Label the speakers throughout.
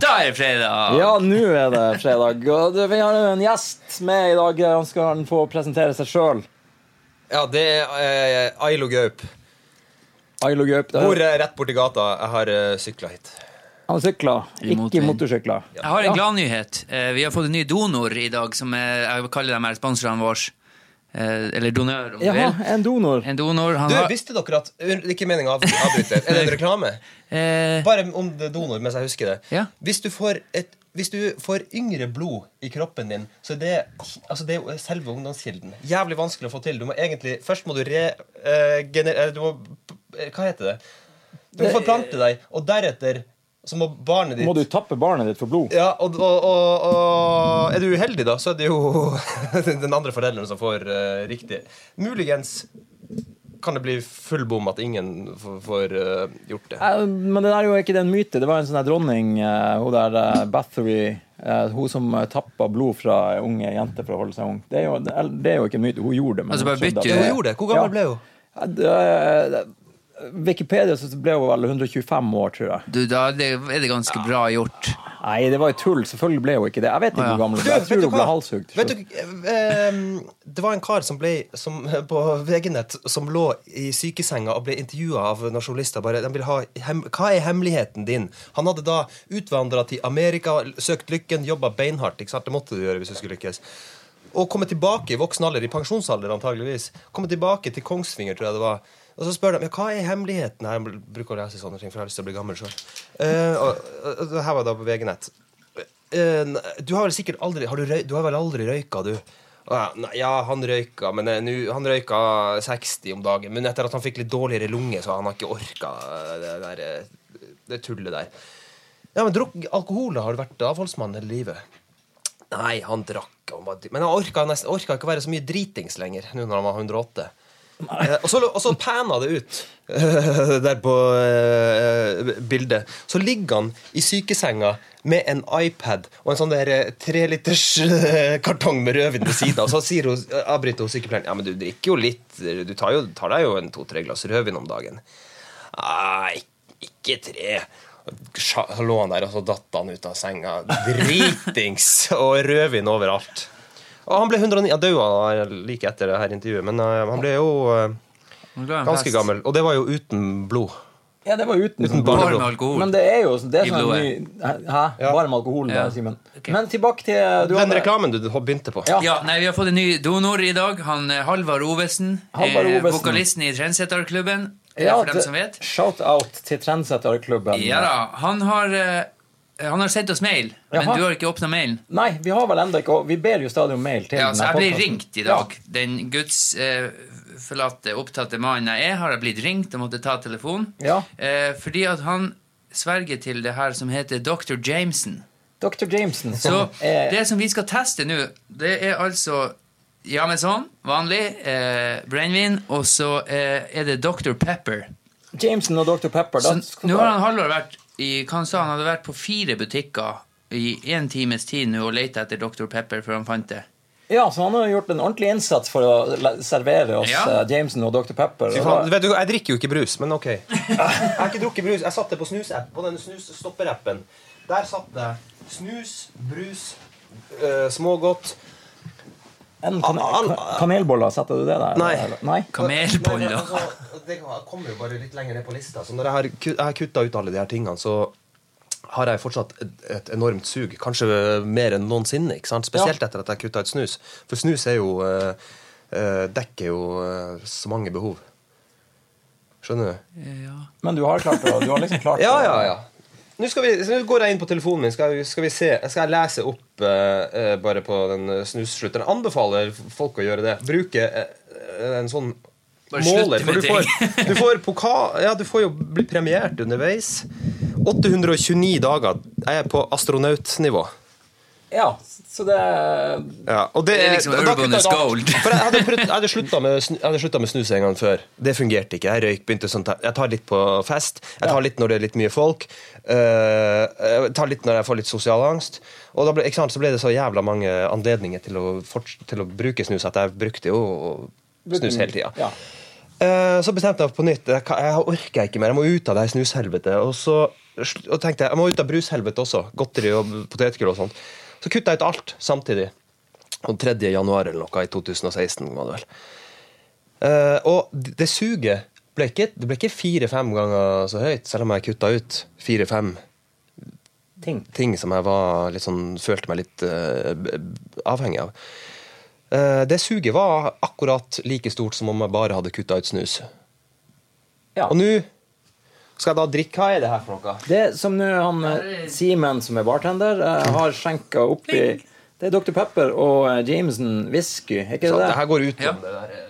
Speaker 1: Da er det fredag!
Speaker 2: Ja, nå er det fredag. Og du, vi har jo en gjest med i dag. Han skal han få presentere seg sjøl.
Speaker 3: Ja, det er eh, Ailo Gaup.
Speaker 2: Ailo Gaup.
Speaker 3: Bor
Speaker 2: det er-
Speaker 3: eh, rett borti gata. Jeg har eh, sykla hit.
Speaker 2: Han sykler,
Speaker 1: I
Speaker 2: ikke
Speaker 1: motvind.
Speaker 2: motorsykler.
Speaker 1: Jeg har en gladnyhet. Eh, Vi har fått en ny donor i dag, som er, jeg vil kalle dem her sponsorene våre. Eh, Eller donør, om du
Speaker 2: Jaha,
Speaker 1: vil.
Speaker 2: en donor.
Speaker 1: En donor. Han
Speaker 3: Du,
Speaker 1: har,
Speaker 3: Visste dere at Det er ikke meninga å av- avbryte. Er det en reklame?
Speaker 1: eh,
Speaker 3: Bare om det er donor, mens jeg husker det.
Speaker 1: Ja.
Speaker 3: Hvis du får et hvis du får yngre blod i kroppen din, så er det, altså det er jo selve ungdomskilden. Jævlig vanskelig å få til. Du må egentlig, Først må du regenerere eh, Du må eh, Hva heter det? Du må forplante deg, og deretter så må barnet ditt
Speaker 2: Må du tappe barnet ditt for blod?
Speaker 3: Ja, og, og, og, og er du uheldig, da, så er det jo den andre forelderen som får eh, riktig. Muligens kan det bli full bom at ingen får, får eh, gjort det.
Speaker 2: Eh, Men det der er jo ikke det en myte. Det var en sånn her dronning, eh, hun der eh, Bathory, eh, hun som eh, tappa blod fra ei unge jente for å holde seg ung. Det er jo, det er- det er jo ikke en myte. Hun gjorde det. men
Speaker 1: Altså, bare
Speaker 2: hun skjønte
Speaker 1: bytte
Speaker 2: at
Speaker 3: Hun
Speaker 1: det-
Speaker 3: gjorde det. Hvor gammel
Speaker 2: Ja.
Speaker 3: ble hun?
Speaker 2: Ja, det- Wikipedia så ble hun vel 125 år, tror jeg.
Speaker 1: du, da er det, er det ganske bra gjort.
Speaker 2: Nei, det var jo tull. Selvfølgelig ble hun ikke det. Jeg vet ikke
Speaker 1: Å, ja.
Speaker 2: hvor gammel hun ble. Jeg tror hun ble halshugd.
Speaker 3: Vet du, eh, det var en kar som ble som, på VG-nett som lå i sykesenga og ble intervjua av noen journalister. Bare, de vil ha, hem, hva er hemmeligheten din? Han hadde da utvandra til Amerika, søkt lykken, jobba beinhardt. Ikke sant? Det måtte du gjøre hvis du skulle lykkes. Og komme tilbake i voksen alder, i pensjonsalder antageligvis. Komme tilbake til Kongsvinger, tror jeg det var. Og så spør de ja, hva er hemmeligheten. Jeg bruker å lese sånne ting, for jeg har lyst til å bli gammel Eh, sjøl. her var det da på VG-nett. Eh, nei, du har vel sikkert aldri Har du, røy, du har vel aldri røyka, du? Å ja, nei, ja, han røyka men eh, nu, Han røyka 60 om dagen, men etter at han fikk litt dårligere lunge, så han har ikke orka eh, det, der, eh, det tullet der. Ja, men drukk alkohol, da? Har du vært avholdsmann hele livet? Nei, han drakk han var dri- Men han orka, nesten, orka ikke å være så mye dritings lenger nå når han var 108. Eh, og, så, og så pana det ut eh, der på eh, bildet. Så ligger han i sykesenga med en iPad og en sånn der eh, treliters eh, kartong med rødvin ved siden av. Og så sier hun, avbryter hun sykepleieren Ja, men du drikker jo litt. Du tar, jo, tar deg jo en to-tre glass rødvin om dagen. Nei, Ah, ikke tre. Så lå han der, og så datt han ut av senga. Dritings! Og rødvin overalt. Og han ble 109 Han daua like etter det her intervjuet, men eh, han ble jo eh,
Speaker 1: Nå ga jeg en
Speaker 3: ganske
Speaker 1: fest.
Speaker 3: gammel. Og det var jo uten blod.
Speaker 2: Ja, det var uten,
Speaker 3: Uten
Speaker 2: blod.
Speaker 3: barn.
Speaker 1: Varm alkohol.
Speaker 2: Men det er jo sånn- det
Speaker 1: I
Speaker 2: som er
Speaker 1: blodet.
Speaker 2: ny Hæ?
Speaker 3: Ja.
Speaker 2: Varm alkohol,
Speaker 1: Ja.
Speaker 2: der, Simen.
Speaker 1: Ok.
Speaker 2: Men tilbake til eh, du
Speaker 3: Den
Speaker 2: hadde-
Speaker 3: reklamen du begynte på.
Speaker 2: Ja.
Speaker 1: Ja, nei, Vi har fått en ny donor i dag. Han eh, Halvard Ovesen.
Speaker 2: Halvard
Speaker 1: eh,
Speaker 2: Ovesen.
Speaker 1: Vokalisten i Trendsetterklubben. eh,
Speaker 2: Ja,
Speaker 1: for dem som vet.
Speaker 2: Shout-out til Trendsetterklubben.
Speaker 1: Ja da. Han har, eh, han har sendt oss mail, men
Speaker 2: Jaha.
Speaker 1: du har ikke åpna mailen.
Speaker 2: Nei, vi har vel enda ikke og Vi ber jo stadig om mail til
Speaker 1: Ja,
Speaker 2: denne
Speaker 1: så jeg blir
Speaker 2: podcasten.
Speaker 1: ringt i dag. Den gudsforlatte, opptatte mannen jeg er, har jeg blitt ringt og måtte ta telefonen.
Speaker 2: Ja.
Speaker 1: Eh, fordi at han sverger til det her som heter Dr. Jameson.
Speaker 2: Ja. Dr. Jameson,
Speaker 1: Så
Speaker 2: som er
Speaker 1: det som vi skal teste nå, det er altså ja, men sånn, vanlig, eh, brennevin, og så eh, er det Dr. Pepper.
Speaker 2: Jameson og Dr. Pepper.
Speaker 1: Så
Speaker 2: Da,
Speaker 1: nå har han Halvor vært i hva han sa, han hadde vært på fire butikker i en times tid nå og leita etter Dr. Pepper før han fant det.
Speaker 2: ja, så han har gjort en ordentlig innsats for å la- servere oss
Speaker 1: Ja.
Speaker 2: eh, Jameson og Dr. Pepper.
Speaker 3: Fy
Speaker 2: Og
Speaker 3: faen,
Speaker 2: da-
Speaker 3: vet du, jeg drikker jo ikke brus, men ok. Jeg har ikke drukket brus. Jeg satte på snus-app, på den snusstopperappen. Der satt jeg snus, brus, eh, smågodt
Speaker 2: En kan
Speaker 3: Al-
Speaker 2: kan kanelboller, setter du det der?
Speaker 3: Nei.
Speaker 2: eller? Nei?
Speaker 3: Nei, men
Speaker 1: Kamelboller.
Speaker 3: altså, det kommer jo bare litt lenger ned på lista. Så når jeg har, ku- jeg har kutta ut alle de her tingene, så har jeg fortsatt et, et enormt sug. Kanskje øh, mer enn noensinne. ikke sant? Spesielt etter at jeg kutta ut snus. For snus er jo øh, øh, dekker jo øh, så mange behov. Skjønner du?
Speaker 1: Ja.
Speaker 2: Men du har klart det. og Du har liksom klart
Speaker 3: Ja,
Speaker 2: det.
Speaker 3: ja, ja. Nå, skal vi, så nå går jeg inn på telefonen min. Skal, vi- skal vi se Skal jeg lese opp eh, eh, bare på den eh, snusslutteren? Anbefaler f- folk å gjøre det. Bruke eh, eh, en sånn
Speaker 1: Bare
Speaker 3: måler.
Speaker 1: slutte
Speaker 3: For
Speaker 1: med
Speaker 3: du får, du får pokal Ja, du får jo bli premiert underveis. 829 dager. Jeg er på astronautnivå.
Speaker 2: Ja, så det
Speaker 3: Ja, og
Speaker 1: Det er liksom
Speaker 3: da- da
Speaker 1: urban
Speaker 3: kutta jeg
Speaker 1: is
Speaker 3: alt.
Speaker 1: gold.
Speaker 3: For jeg hadde, prøvd- jeg hadde slutta med, snu- jeg hadde sluttet med snus en gang før. Det fungerte ikke. Jeg røyk, begynte sånn Jeg tar litt på fest. Jeg tar litt når det er litt mye folk. øh, jeg tar litt når jeg får litt sosial angst. Og da ble, ikke sant, så ble det så jævla mange anledninger til å, forts- til å bruke snus at jeg brukte jo snus hele tida.
Speaker 2: Ja.
Speaker 3: Eh, Så bestemte jeg meg på nytt. Jeg, kan- jeg orker ikke mer. Jeg må ut av det her snushelvetet. Og så sl- og tenkte jeg jeg må ut av brushelvete også. Godteri og potetgull og sånt. Så kutta jeg ut alt samtidig. Og 3. januar eller noe i 2016 var det vel. Eh, og d- det suget ble ikke, det ble ikke fire-fem ganger så høyt, selv om jeg kutta ut fire-fem
Speaker 2: Ting.
Speaker 3: ting som jeg var litt sånn, følte meg litt eh, b- b- avhengig av. Eh, det suget var akkurat like stort som om jeg bare hadde kutta ut snus.
Speaker 2: Ja.
Speaker 3: Og nå skal jeg da drikke Hva er det her for noe?
Speaker 2: Det som nå han eh, Simen, som er bartender, eh,
Speaker 3: Mm.
Speaker 2: har skjenka oppi Det er Dr. Pepper og eh, Jameson whisky, er ikke
Speaker 3: Så
Speaker 2: det
Speaker 3: det
Speaker 2: det?
Speaker 3: her går utenom
Speaker 1: Ja.
Speaker 3: det der. eh,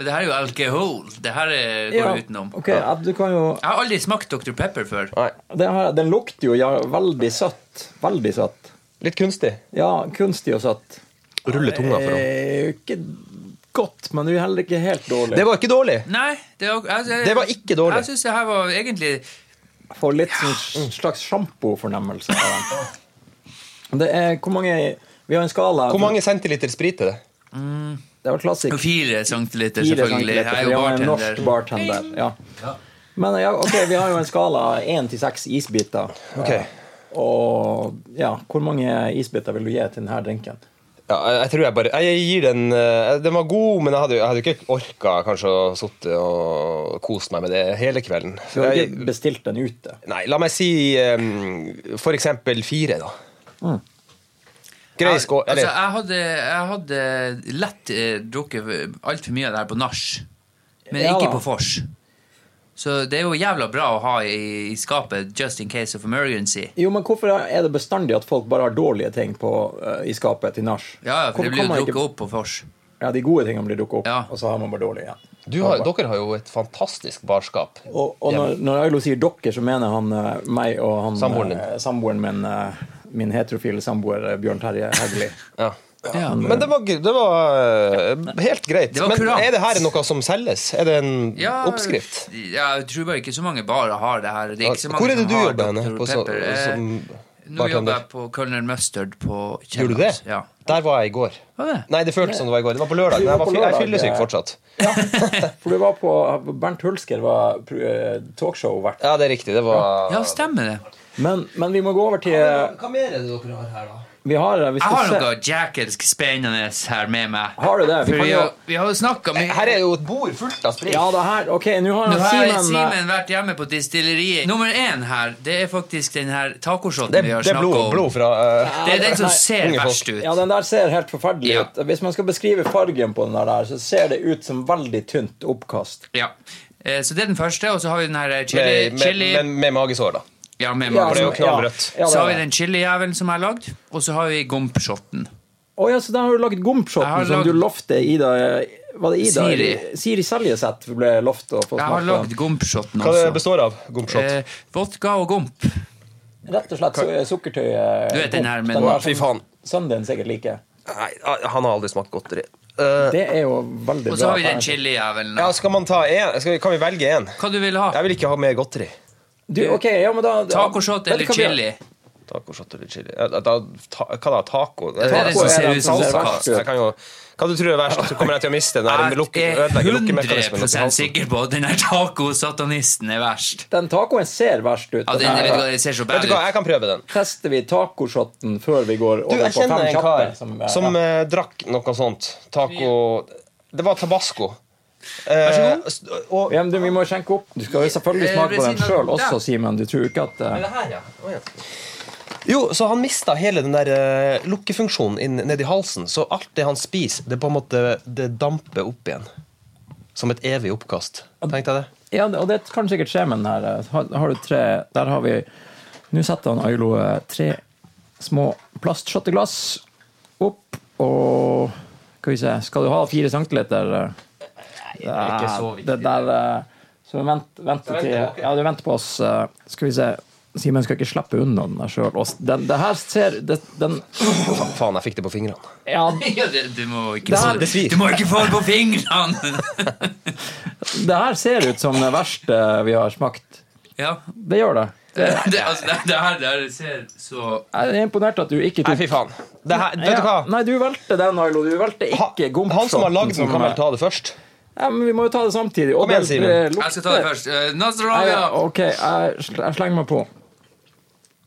Speaker 1: Det her er jo alkohol. Det her eh, går utenom.
Speaker 2: ok, ja, du kan jo
Speaker 1: Jeg har aldri smakt Dr. Pepper før.
Speaker 3: Nei.
Speaker 2: den, har, den lukter jo ja, veldig søtt. Veldig søtt.
Speaker 3: Litt kunstig.
Speaker 2: Ja, kunstig og søtt.
Speaker 3: Rulle tunga for ham.
Speaker 2: Eh, Ikke godt, men det er jo heller ikke helt dårlig.
Speaker 3: Det var ikke dårlig!
Speaker 1: Nei, det, var- altså, jeg-
Speaker 3: Det var ikke dårlig.
Speaker 1: Jeg syns det her var egentlig
Speaker 2: Får litt sånn s- slags sjampo-fornemmelse av den. Det er hvor mange Vi har en skala.
Speaker 3: Hvor mange centiliter sprit er det?
Speaker 2: Det var klassisk.
Speaker 1: fire centiliter,
Speaker 2: Fire
Speaker 1: selvfølgelig.
Speaker 2: centimeter,
Speaker 1: Jeg er
Speaker 2: for
Speaker 1: jo
Speaker 2: jeg var en norsk
Speaker 1: bartender.
Speaker 2: bartender. Ja. Men ja, ok, vi har jo en skala én til seks isbiter.
Speaker 3: Ok.
Speaker 2: Og ja, hvor mange isbiter vil du gi til denne drinken?
Speaker 3: Ja, jeg, jeg tror jeg bare Jeg gir den eh, Den var god, men jeg hadde, jo- jeg hadde jo ikke orka kanskje å sitte og kost meg med det hele kvelden.
Speaker 2: Du har
Speaker 3: Jeg-
Speaker 2: ikke bestilt den ute.
Speaker 3: Nei, la meg si um, for eksempel fire, da. Mm. Grei skål.
Speaker 1: altså,
Speaker 3: Eller
Speaker 1: jeg hadde, jeg hadde lett eh, drukket altfor mye av det her på nach, men
Speaker 2: Ja
Speaker 1: ikke
Speaker 2: da.
Speaker 1: på vors. Så det er jo jævla bra å ha i, i skapet just in case of emergency.
Speaker 2: Jo, men Hvorfor er det bestandig at folk bare har dårlige ting på, eh, i skapet til nach?
Speaker 1: Ja, ja, for
Speaker 2: Hvorfor
Speaker 1: det blir
Speaker 2: kan
Speaker 1: jo
Speaker 2: man
Speaker 1: drukket
Speaker 2: ikke-
Speaker 1: opp på vors.
Speaker 2: Ja, De gode tingene blir dukket opp,
Speaker 1: Ja.
Speaker 2: og så har man bare dårlige igjen.
Speaker 3: du har, Dere har jo et fantastisk barskap.
Speaker 2: Og, og når, når Ailo sier dere, så mener han eh, meg og han,
Speaker 3: Samboeren din.
Speaker 2: eh, samboeren min, eh, min heterofile samboer eh, Bjørn Terje Hauglie.
Speaker 3: Ja.
Speaker 1: Ja.
Speaker 3: Men det var, det var eh, helt greit.
Speaker 1: Det var
Speaker 3: Men
Speaker 1: kurant.
Speaker 3: er det her noe som selges? Er det en
Speaker 1: Ja,
Speaker 3: oppskrift?
Speaker 1: Ja, jeg tror bare ikke så mange barer har det her. Det er ikke så mange
Speaker 3: Hvor er
Speaker 1: som
Speaker 3: det du
Speaker 1: har
Speaker 3: jobber
Speaker 1: Dr.
Speaker 3: henne? På så,
Speaker 1: Pepper. Eh,
Speaker 3: som
Speaker 1: Nå jobber
Speaker 3: bartender?
Speaker 1: jeg på Colonel Mustard på Kjellers.
Speaker 3: Gjorde du det?
Speaker 1: Ja.
Speaker 3: Der var jeg i går.
Speaker 1: Var det?
Speaker 3: Nei, det føltes som det var i går. Det var på lørdag.
Speaker 2: Vi
Speaker 3: Men
Speaker 2: var
Speaker 3: jeg, var,
Speaker 2: på
Speaker 3: fy- jeg er
Speaker 2: lørdag,
Speaker 3: fyllesyk
Speaker 2: eh.
Speaker 3: fortsatt.
Speaker 2: Ja, for du var på Bernt Hulsker var pr- eh, talkshow-vert.
Speaker 3: Ja, det er riktig. Det var
Speaker 1: ja, stemmer det.
Speaker 2: Men, men vi må gå over til
Speaker 3: Hva mer er det dere har her, da?
Speaker 2: Vi har eh, vi
Speaker 1: Jeg
Speaker 2: skal
Speaker 1: har
Speaker 2: se-
Speaker 1: noe jackelsk spennende her med meg.
Speaker 2: Har du det? Vi
Speaker 1: For
Speaker 2: kan
Speaker 1: vi,
Speaker 2: jo-
Speaker 1: har, vi har jo snakka mye
Speaker 3: Eh, Her er jo et bord fullt av sprit.
Speaker 2: Ja, det her Ok, nå har
Speaker 1: Nå har
Speaker 2: Simen eh,
Speaker 1: Simen vært hjemme på distilleriet. Nummer én her, det er faktisk den her tacoshoten
Speaker 3: det,
Speaker 1: vi har
Speaker 3: det er
Speaker 1: snakka
Speaker 3: blod,
Speaker 1: om.
Speaker 3: blod fra eh,
Speaker 1: Det er den som
Speaker 2: Nei,
Speaker 1: ser
Speaker 3: unge folk.
Speaker 1: verst ut.
Speaker 2: Ja, den der ser helt forferdelig
Speaker 1: Ja.
Speaker 2: ut. Hvis man skal beskrive fargen på den der, så ser det ut som veldig tynt oppkast.
Speaker 1: Ja. Eh, Så det er den første, og så har vi den her eh, chili,
Speaker 3: med, med,
Speaker 1: chili
Speaker 3: med, med magesår, da.
Speaker 1: Ja, med
Speaker 2: Ja,
Speaker 1: magen.
Speaker 3: det er jo
Speaker 2: altså, ja.
Speaker 3: knallrødt.
Speaker 2: Ja, det
Speaker 1: Så har vi
Speaker 2: er det.
Speaker 1: den chilijævelen som jeg har lagd, og så har vi gompshotten.
Speaker 2: Å ja, så der har du lagd
Speaker 1: Jeg har
Speaker 2: gompshoten som
Speaker 1: lagd-
Speaker 2: du lovte Ida Var det Ida?
Speaker 1: Siri.
Speaker 2: Siri Seljeseth ble lovt å få
Speaker 1: Jeg har
Speaker 2: smake på.
Speaker 1: lagd gompshotten
Speaker 3: Hva det
Speaker 1: også.
Speaker 3: består av? Gompshot?
Speaker 1: Eh, vodka og gomp.
Speaker 2: Rett og slett så er sukkertøy eh,
Speaker 1: Du vet den her, men-
Speaker 2: der
Speaker 1: Å,
Speaker 3: fy
Speaker 2: som
Speaker 3: faen.
Speaker 2: Sønnen din sikkert liker.
Speaker 3: Nei, han har aldri smakt godteri. Eh,
Speaker 2: Det er jo veldig bra.
Speaker 1: Og så har vi den
Speaker 2: alternativ.
Speaker 1: chilijævelen.
Speaker 3: ja, skal man ta en? Skal vi, kan vi velge én?
Speaker 1: Hva du vil ha?
Speaker 3: Jeg vil ikke ha mer godteri.
Speaker 2: Du, ok, ja, men da
Speaker 1: Tacoshot
Speaker 2: Vet du
Speaker 1: eller
Speaker 2: hva vi gjør?
Speaker 1: chili?
Speaker 3: Tacoshot eller chili Eh, da, ta, Hva da? Taco?
Speaker 1: det er det som ser ut som
Speaker 2: det er
Speaker 3: Salsa.
Speaker 2: verst ut.
Speaker 3: Jeg kan jo, hva du tror er verst? Så kommer jeg til å miste den der lukke,
Speaker 1: Jeg er 100
Speaker 3: ødelegge
Speaker 2: sånn-
Speaker 3: lukkemekanismen.
Speaker 1: sikker på at den her tacosatanisten er verst.
Speaker 2: Den tacoen ser verst ut.
Speaker 1: Ja, den,
Speaker 2: Den
Speaker 1: vet du
Speaker 2: her
Speaker 1: hva, den ser så
Speaker 3: Vet
Speaker 1: bad
Speaker 3: du hva,
Speaker 1: ut.
Speaker 3: jeg kan prøve den.
Speaker 2: tester vi tacoshoten før vi går
Speaker 3: Du,
Speaker 2: over
Speaker 3: jeg
Speaker 2: på fem
Speaker 3: kjenner en
Speaker 2: kjappe.
Speaker 3: kar som,
Speaker 2: eh, ja.
Speaker 3: eh, drakk noe sånt. Taco Det var tabasco.
Speaker 1: Vær så god.
Speaker 3: god. Og,
Speaker 2: ja, men du, Vi må skjenke opp. Du skal jo selvfølgelig
Speaker 1: Eh,
Speaker 2: smake på
Speaker 1: ved
Speaker 2: den
Speaker 1: siden av-
Speaker 2: sjøl
Speaker 1: der.
Speaker 2: også, Simen. Du tror ikke at eh,
Speaker 3: det her, ja. Å, ja. Jo, så han mista hele den der eh, lukkefunksjonen inn, nedi halsen. Så alt det han spiser, det på en måte Det damper opp igjen. Som et evig oppkast. Tenkte jeg det?
Speaker 2: Ja, det- og det kan sikkert skje med den her. eh, Har, har du tre Der har vi Nå setter han Ailo eh, tre små plastshotteglass opp, og Skal vi se Skal du ha fire centiliter? eh?
Speaker 3: ikke så viktig.
Speaker 2: Det der eh, Så vent, vent
Speaker 3: venter
Speaker 2: til
Speaker 3: dere.
Speaker 2: Ja, du venter på oss. eh, Skal vi se Simen skal ikke slippe unna den der sjøl. Den, det her ser det, den,
Speaker 3: Fa- Faen, jeg fikk det på fingrene.
Speaker 2: Ja,
Speaker 1: Ja, det, du må ikke
Speaker 2: Det her-
Speaker 3: det svir.
Speaker 1: Du må ikke få det på fingrene!
Speaker 2: det her ser ut som det verste vi har smakt.
Speaker 1: Ja.
Speaker 2: Det gjør det.
Speaker 1: Det, det, altså, det, det her det her ser så
Speaker 2: Jeg er imponert at du ikke
Speaker 3: Nei,
Speaker 2: tok
Speaker 3: fy faen. Det her, vet du hva?
Speaker 2: Ja. Nei, du valgte den, Ailo. Du valgte
Speaker 3: Ha,
Speaker 2: ikke gompshoten.
Speaker 3: han som eh, har lagd den, kan vel ta det først?
Speaker 2: Ja, men Vi må jo ta det samtidig. Og
Speaker 3: Kom igjen,
Speaker 2: det-
Speaker 3: Simen.
Speaker 2: det lukter-
Speaker 1: Jeg skal ta det først. Eh,
Speaker 2: Nei,
Speaker 1: Nostradamus!
Speaker 2: ja, ok, jeg, sl- jeg slenger meg på.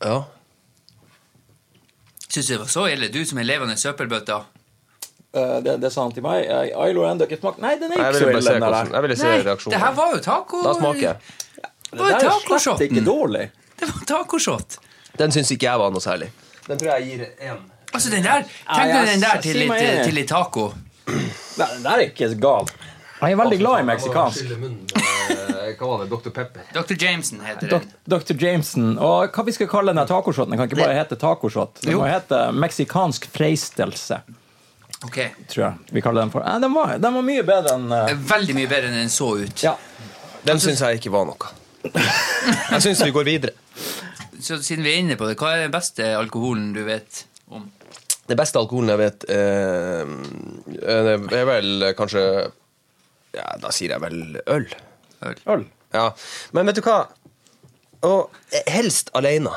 Speaker 3: Ja.
Speaker 1: Syns du det var så ille, du som er levende søppelbøtta?
Speaker 2: Eh, det, det sa han til meg. Eh, Ailo har ennå ikke smakt Nei, den er
Speaker 3: Jeg
Speaker 2: ikke så
Speaker 3: ville
Speaker 2: ille,
Speaker 3: bare se,
Speaker 2: den der.
Speaker 3: hvordan, jeg ville se
Speaker 1: det her
Speaker 3: reaksjonen.
Speaker 1: var jo taco...
Speaker 3: Da smaker jeg.
Speaker 1: Det
Speaker 2: Det
Speaker 1: var
Speaker 2: der
Speaker 1: jo
Speaker 2: er slett
Speaker 3: Mm.
Speaker 1: tacoshot.
Speaker 2: ikke dårlig.
Speaker 1: Det var tacoshot.
Speaker 3: Den syns ikke jeg var noe særlig. Den tror jeg gir én.
Speaker 1: Altså, den der Tenk
Speaker 2: Ja,
Speaker 1: deg
Speaker 2: jeg
Speaker 1: den der
Speaker 2: s-
Speaker 1: til
Speaker 2: sier
Speaker 1: litt,
Speaker 2: meg enig.
Speaker 1: til litt taco.
Speaker 2: Nei, den der er ikke gal. Jeg er veldig glad i meksikansk.
Speaker 3: eh, Hva var det? Dr. Pepper?
Speaker 1: Dr. Jameson heter den.
Speaker 2: Dok- Dr. Jameson. Og hva vi skal kalle denne tacoshoten? Den kan ikke bare hete tacoshot. Den må hete meksikansk freistelse,
Speaker 1: Ok.
Speaker 2: tror jeg vi kaller den for. Nei, den, var, den var mye bedre enn eh,
Speaker 1: Veldig mye bedre enn den så ut.
Speaker 2: Ja.
Speaker 3: Den syns jeg ikke var noe. Jeg syns vi går videre.
Speaker 1: Så siden vi er inne på det, hva er den beste alkoholen du vet om?
Speaker 3: Det beste alkoholen jeg vet, eh, det er vel kanskje Ja, da sier jeg vel øl.
Speaker 1: Øl.
Speaker 2: Øl.
Speaker 3: Ja. Men vet du hva? Og helst alene.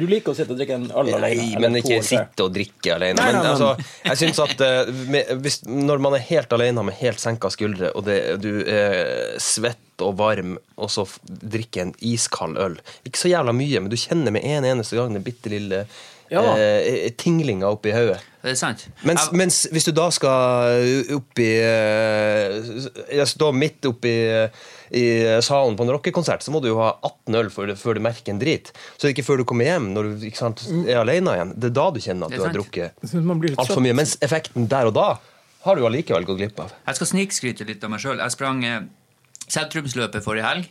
Speaker 2: Du liker å sitte og drikke en øl alene?
Speaker 3: Nei,
Speaker 2: eller to
Speaker 3: men ikke
Speaker 2: eller tre.
Speaker 3: sitte og drikke alene.
Speaker 2: Nei,
Speaker 3: men,
Speaker 2: nei,
Speaker 3: altså,
Speaker 2: men-
Speaker 3: jeg syns at eh, med, hvis, når man er helt alene med helt senka skuldre, og det, du er svett og varm, og så f- drikker en iskald øl Ikke så jævla mye, men du kjenner med en eneste gang den bitte lille
Speaker 2: Ja da.
Speaker 3: eh, tinglinga oppi hodet.
Speaker 1: Er det sant?
Speaker 3: Mens,
Speaker 1: Jeg-
Speaker 3: mens hvis du da skal opp i eh, Jeg står midt oppi i salen på en rockekonsert, så må du jo ha 18 øl før du, før du merker en drit. Så det er ikke før du kommer hjem, når du ikke sant, er alene igjen, det er da du kjenner at
Speaker 1: Det er
Speaker 3: du har
Speaker 1: sant.
Speaker 3: drukket
Speaker 2: Jeg synes man blir litt sånn-
Speaker 3: altfor mye. Mens effekten der og da har du allikevel gått glipp av.
Speaker 1: Jeg skal snikskryte litt av meg sjøl. Jeg sprang eh, sentrumsløpet forrige helg.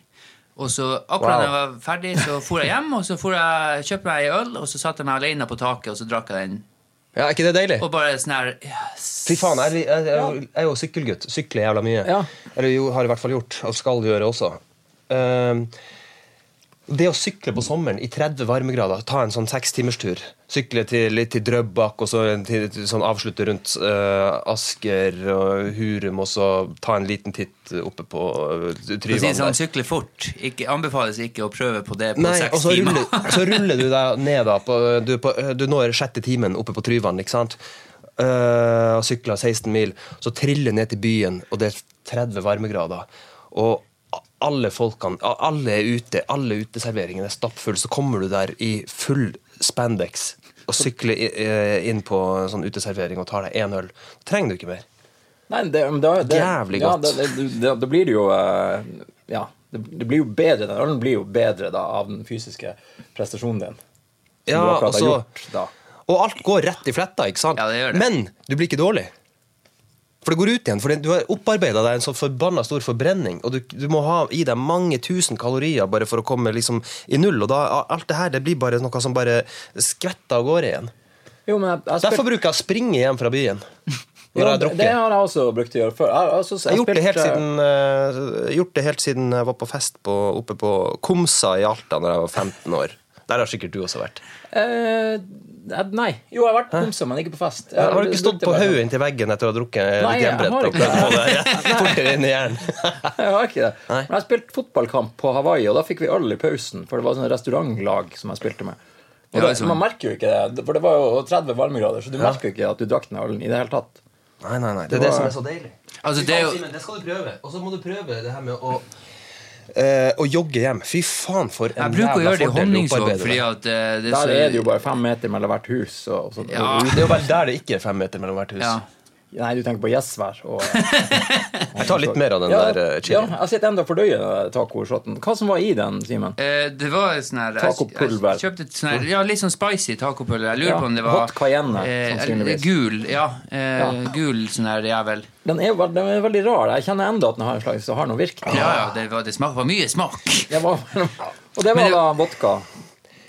Speaker 1: Og så akkurat da jeg var ferdig, så for jeg hjem, og så for jeg, kjøpte jeg ei øl, og så satte jeg meg alene på taket, og så drakk jeg den.
Speaker 3: Ja, Er ikke det deilig?
Speaker 1: Og bare sånn her yes.
Speaker 3: Fy faen, jeg, jeg, jeg, jeg er jo sykkelgutt. Sykler jævla mye.
Speaker 2: Ja.
Speaker 3: Eller jo, har i hvert fall gjort, og skal gjøre også. Ehm, det å sykle på sommeren i 30 varmegrader, ta en sånn sekstimerstur Sykle til, litt til Drøbak, og så en til, til, sånn avslutte rundt eh, Asker og Hurum, og så ta en liten titt oppe på uh,
Speaker 1: For å si
Speaker 3: Tryvann.
Speaker 1: det sånn,
Speaker 3: der.
Speaker 1: sykle fort. Ikke, anbefales ikke å prøve på det på
Speaker 3: Nei, og
Speaker 1: seks
Speaker 3: så
Speaker 1: timer.
Speaker 3: ruller, så ruller du deg ned, da. På, du, er på, du når sjette timen oppe på Tryvann, ikke sant? Eh, og sykler 16 mil. Så triller ned til byen, og det er 30 varmegrader. Og a- alle folkene a- Alle er ute, alle uteserveringene er stappfulle. Så kommer du der i full spandex og sykler i- eh, inn på en sånn uteservering og tar deg én øl. Da trenger du ikke mer.
Speaker 2: Nei, det, men det, det,
Speaker 3: Jævlig godt.
Speaker 2: Ja, det, det, det, det blir det jo eh, Ja, det, det blir jo bedre. Den ølen blir jo bedre da, av den fysiske prestasjonen din. Som
Speaker 3: Ja,
Speaker 2: du akkurat
Speaker 3: altså-
Speaker 2: har gjort da.
Speaker 3: Og alt går rett i fletta, ikke sant?
Speaker 1: Ja, det gjør det.
Speaker 3: Men du blir ikke dårlig. For det går ut igjen, for det- du har opparbeida deg en så forbanna stor forbrenning, og du, du må ha i deg mange tusen kalorier bare for å komme liksom i null, og da alt det her det blir bare noe som bare skvetter av gårde igjen.
Speaker 2: Jo, men jeg, jeg
Speaker 3: Derfor
Speaker 2: spilte-
Speaker 3: bruker jeg å springe hjem fra byen når
Speaker 2: Ja,
Speaker 3: jeg har
Speaker 2: det- Det
Speaker 3: drukket.
Speaker 2: har jeg også brukt å gjøre før. Jeg, altså, jeg
Speaker 3: Jeg har gjort det, helt
Speaker 2: spilte-
Speaker 3: siden, eh, gjort det helt siden jeg var på fest på, oppe på Komsa i Alta da jeg var 15 år. Der har sikkert du også vært.
Speaker 2: Eh, jeg- nei. Jo, jeg har vært homse, men ikke på fest. Jeg,
Speaker 3: Jeg har du ikke stått
Speaker 2: brukte
Speaker 3: på
Speaker 2: bare-
Speaker 3: hodet inntil veggen etter å ha drukket
Speaker 2: Nei, jeg
Speaker 3: hjemmebrett
Speaker 2: har
Speaker 3: og
Speaker 2: ikke
Speaker 3: prøvd å få det fortere inn i hjernen.
Speaker 2: Jeg har ikke det.
Speaker 3: Nei.
Speaker 2: Men jeg spilte fotballkamp på Hawaii, og da fikk vi øl i pausen. For det var sånn restaurantlag som jeg spilte med. Og
Speaker 1: Ja,
Speaker 2: da,
Speaker 1: liksom.
Speaker 2: Man merker jo ikke det, for det var jo 30 varmegrader, så du merker jo ikke at du drakk den ølen i det hele tatt.
Speaker 3: Nei, nei, nei. Det
Speaker 2: Det
Speaker 3: er det
Speaker 2: var-
Speaker 3: som er så deilig.
Speaker 1: Altså,
Speaker 3: Fy
Speaker 1: det er
Speaker 3: faen,
Speaker 1: jo-
Speaker 3: Simen, det skal du prøve. Og så må du prøve det her med å eh, å jogge hjem. Fy faen, for en
Speaker 1: Jeg bruker å gjøre det i
Speaker 3: fordel du
Speaker 1: honningsvåg,
Speaker 3: opparbeider
Speaker 1: fordi
Speaker 3: deg.
Speaker 1: at eh, det
Speaker 2: Der er det
Speaker 1: er
Speaker 2: jo
Speaker 1: så
Speaker 2: bare fem meter mellom hvert hus. Og, sånn. og sånt.
Speaker 1: Ja.
Speaker 3: Det er jo vel der det ikke er fem meter mellom hvert hus.
Speaker 1: ja.
Speaker 2: Nei, du tenker på Gjesvær. og-
Speaker 3: Jeg tar litt mer av den
Speaker 2: Ja,
Speaker 3: der eh,
Speaker 2: ja,
Speaker 3: chilien.
Speaker 2: jeg sitter enda og fordøyer den der tacoshoten. Hva som var i den, Simen?
Speaker 1: Eh, Det var sånn her jeg-
Speaker 2: Tacopulver.
Speaker 1: Jeg kjøpte et sånn her, ja, litt sånn spicy tacopulver. Jeg lurer
Speaker 2: Ja,
Speaker 1: på om det var
Speaker 2: hot cayenne,
Speaker 1: eh,
Speaker 2: sannsynligvis.
Speaker 1: Gul, ja. Eh, Gul sånn her jævel.
Speaker 2: Den er, jo veld- den er veldig rar. Jeg kjenner enda at den har en slags har noe virkning.
Speaker 1: Ja, ja, det var, det smak, var mye smak.
Speaker 2: Det var, og det var
Speaker 1: Men det-
Speaker 2: da vodka.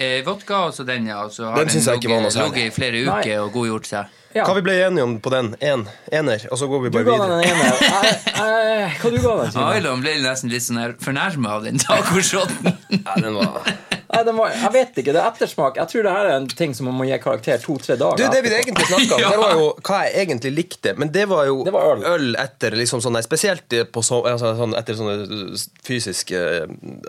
Speaker 1: Eh, vodka og så den, ja. og Så har
Speaker 3: Den
Speaker 1: den
Speaker 3: synes jeg ikke var noe
Speaker 1: ligget
Speaker 3: særlig.
Speaker 1: ligget i flere
Speaker 2: Nei.
Speaker 1: uker og godgjort seg.
Speaker 2: Ja.
Speaker 3: Hva vi ble enige om på den? En, ener. Og så går vi
Speaker 2: Du
Speaker 3: bare
Speaker 2: ga den en
Speaker 3: videre.
Speaker 2: ener. Jeg- jeg- Hva du ga den, Simen?
Speaker 1: Ailon ble nesten litt sånn her fornærma av den tacoshoten.
Speaker 3: Ja, den var...
Speaker 2: Nei, den var, jeg vet ikke. Det er ettersmak. Jeg tror det her er en ting som man må gi karakter to-tre dager.
Speaker 3: Du, det vi egentlig snakka om,
Speaker 1: Ja.
Speaker 3: det var jo hva jeg egentlig likte. Men det var jo
Speaker 2: Det var øl.
Speaker 3: etter liksom sånne, spesielt på så, altså, sånn, etter sånne fysiske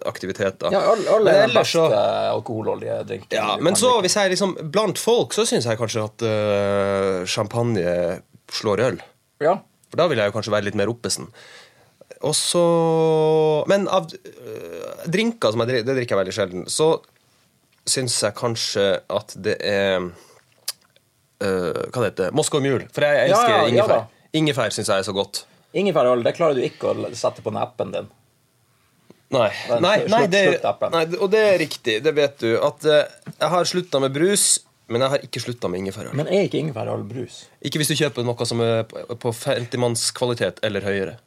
Speaker 3: aktiviteter.
Speaker 2: ja, øl, øl
Speaker 3: Men
Speaker 2: er den
Speaker 3: ellers
Speaker 2: beste
Speaker 3: så-
Speaker 2: alkoholholdige drinken.
Speaker 3: ja,
Speaker 2: du
Speaker 3: men
Speaker 2: kan
Speaker 3: så,
Speaker 2: drikke.
Speaker 3: hvis jeg liksom Blant folk så syns jeg kanskje at øh, champagne slår øl.
Speaker 2: Ja.
Speaker 3: For da vil jeg jo kanskje være litt mer oppesen. Og så Men av øh, drinker som jeg drikker, det drikker jeg veldig sjelden, så syns jeg kanskje at det er eh, Hva det heter det? Moskva Mule. For jeg
Speaker 2: Ja,
Speaker 3: elsker
Speaker 2: ja, ja
Speaker 3: ingefær.
Speaker 2: da.
Speaker 3: ingefær syns jeg er så godt.
Speaker 2: Ingefærøl, det klarer du ikke å sette på den appen din.
Speaker 3: Nei,
Speaker 2: Nei,
Speaker 3: nei,
Speaker 2: slutt-
Speaker 3: nei, det,
Speaker 2: slutt appen.
Speaker 3: nei, og det er riktig. Det vet du. At eh, jeg har slutta med brus, men jeg har ikke slutta med ingefærøl.
Speaker 2: Men er ikke ingefærøl brus?
Speaker 3: Ikke hvis du kjøper noe som er på på 50-manns kvalitet eller høyere.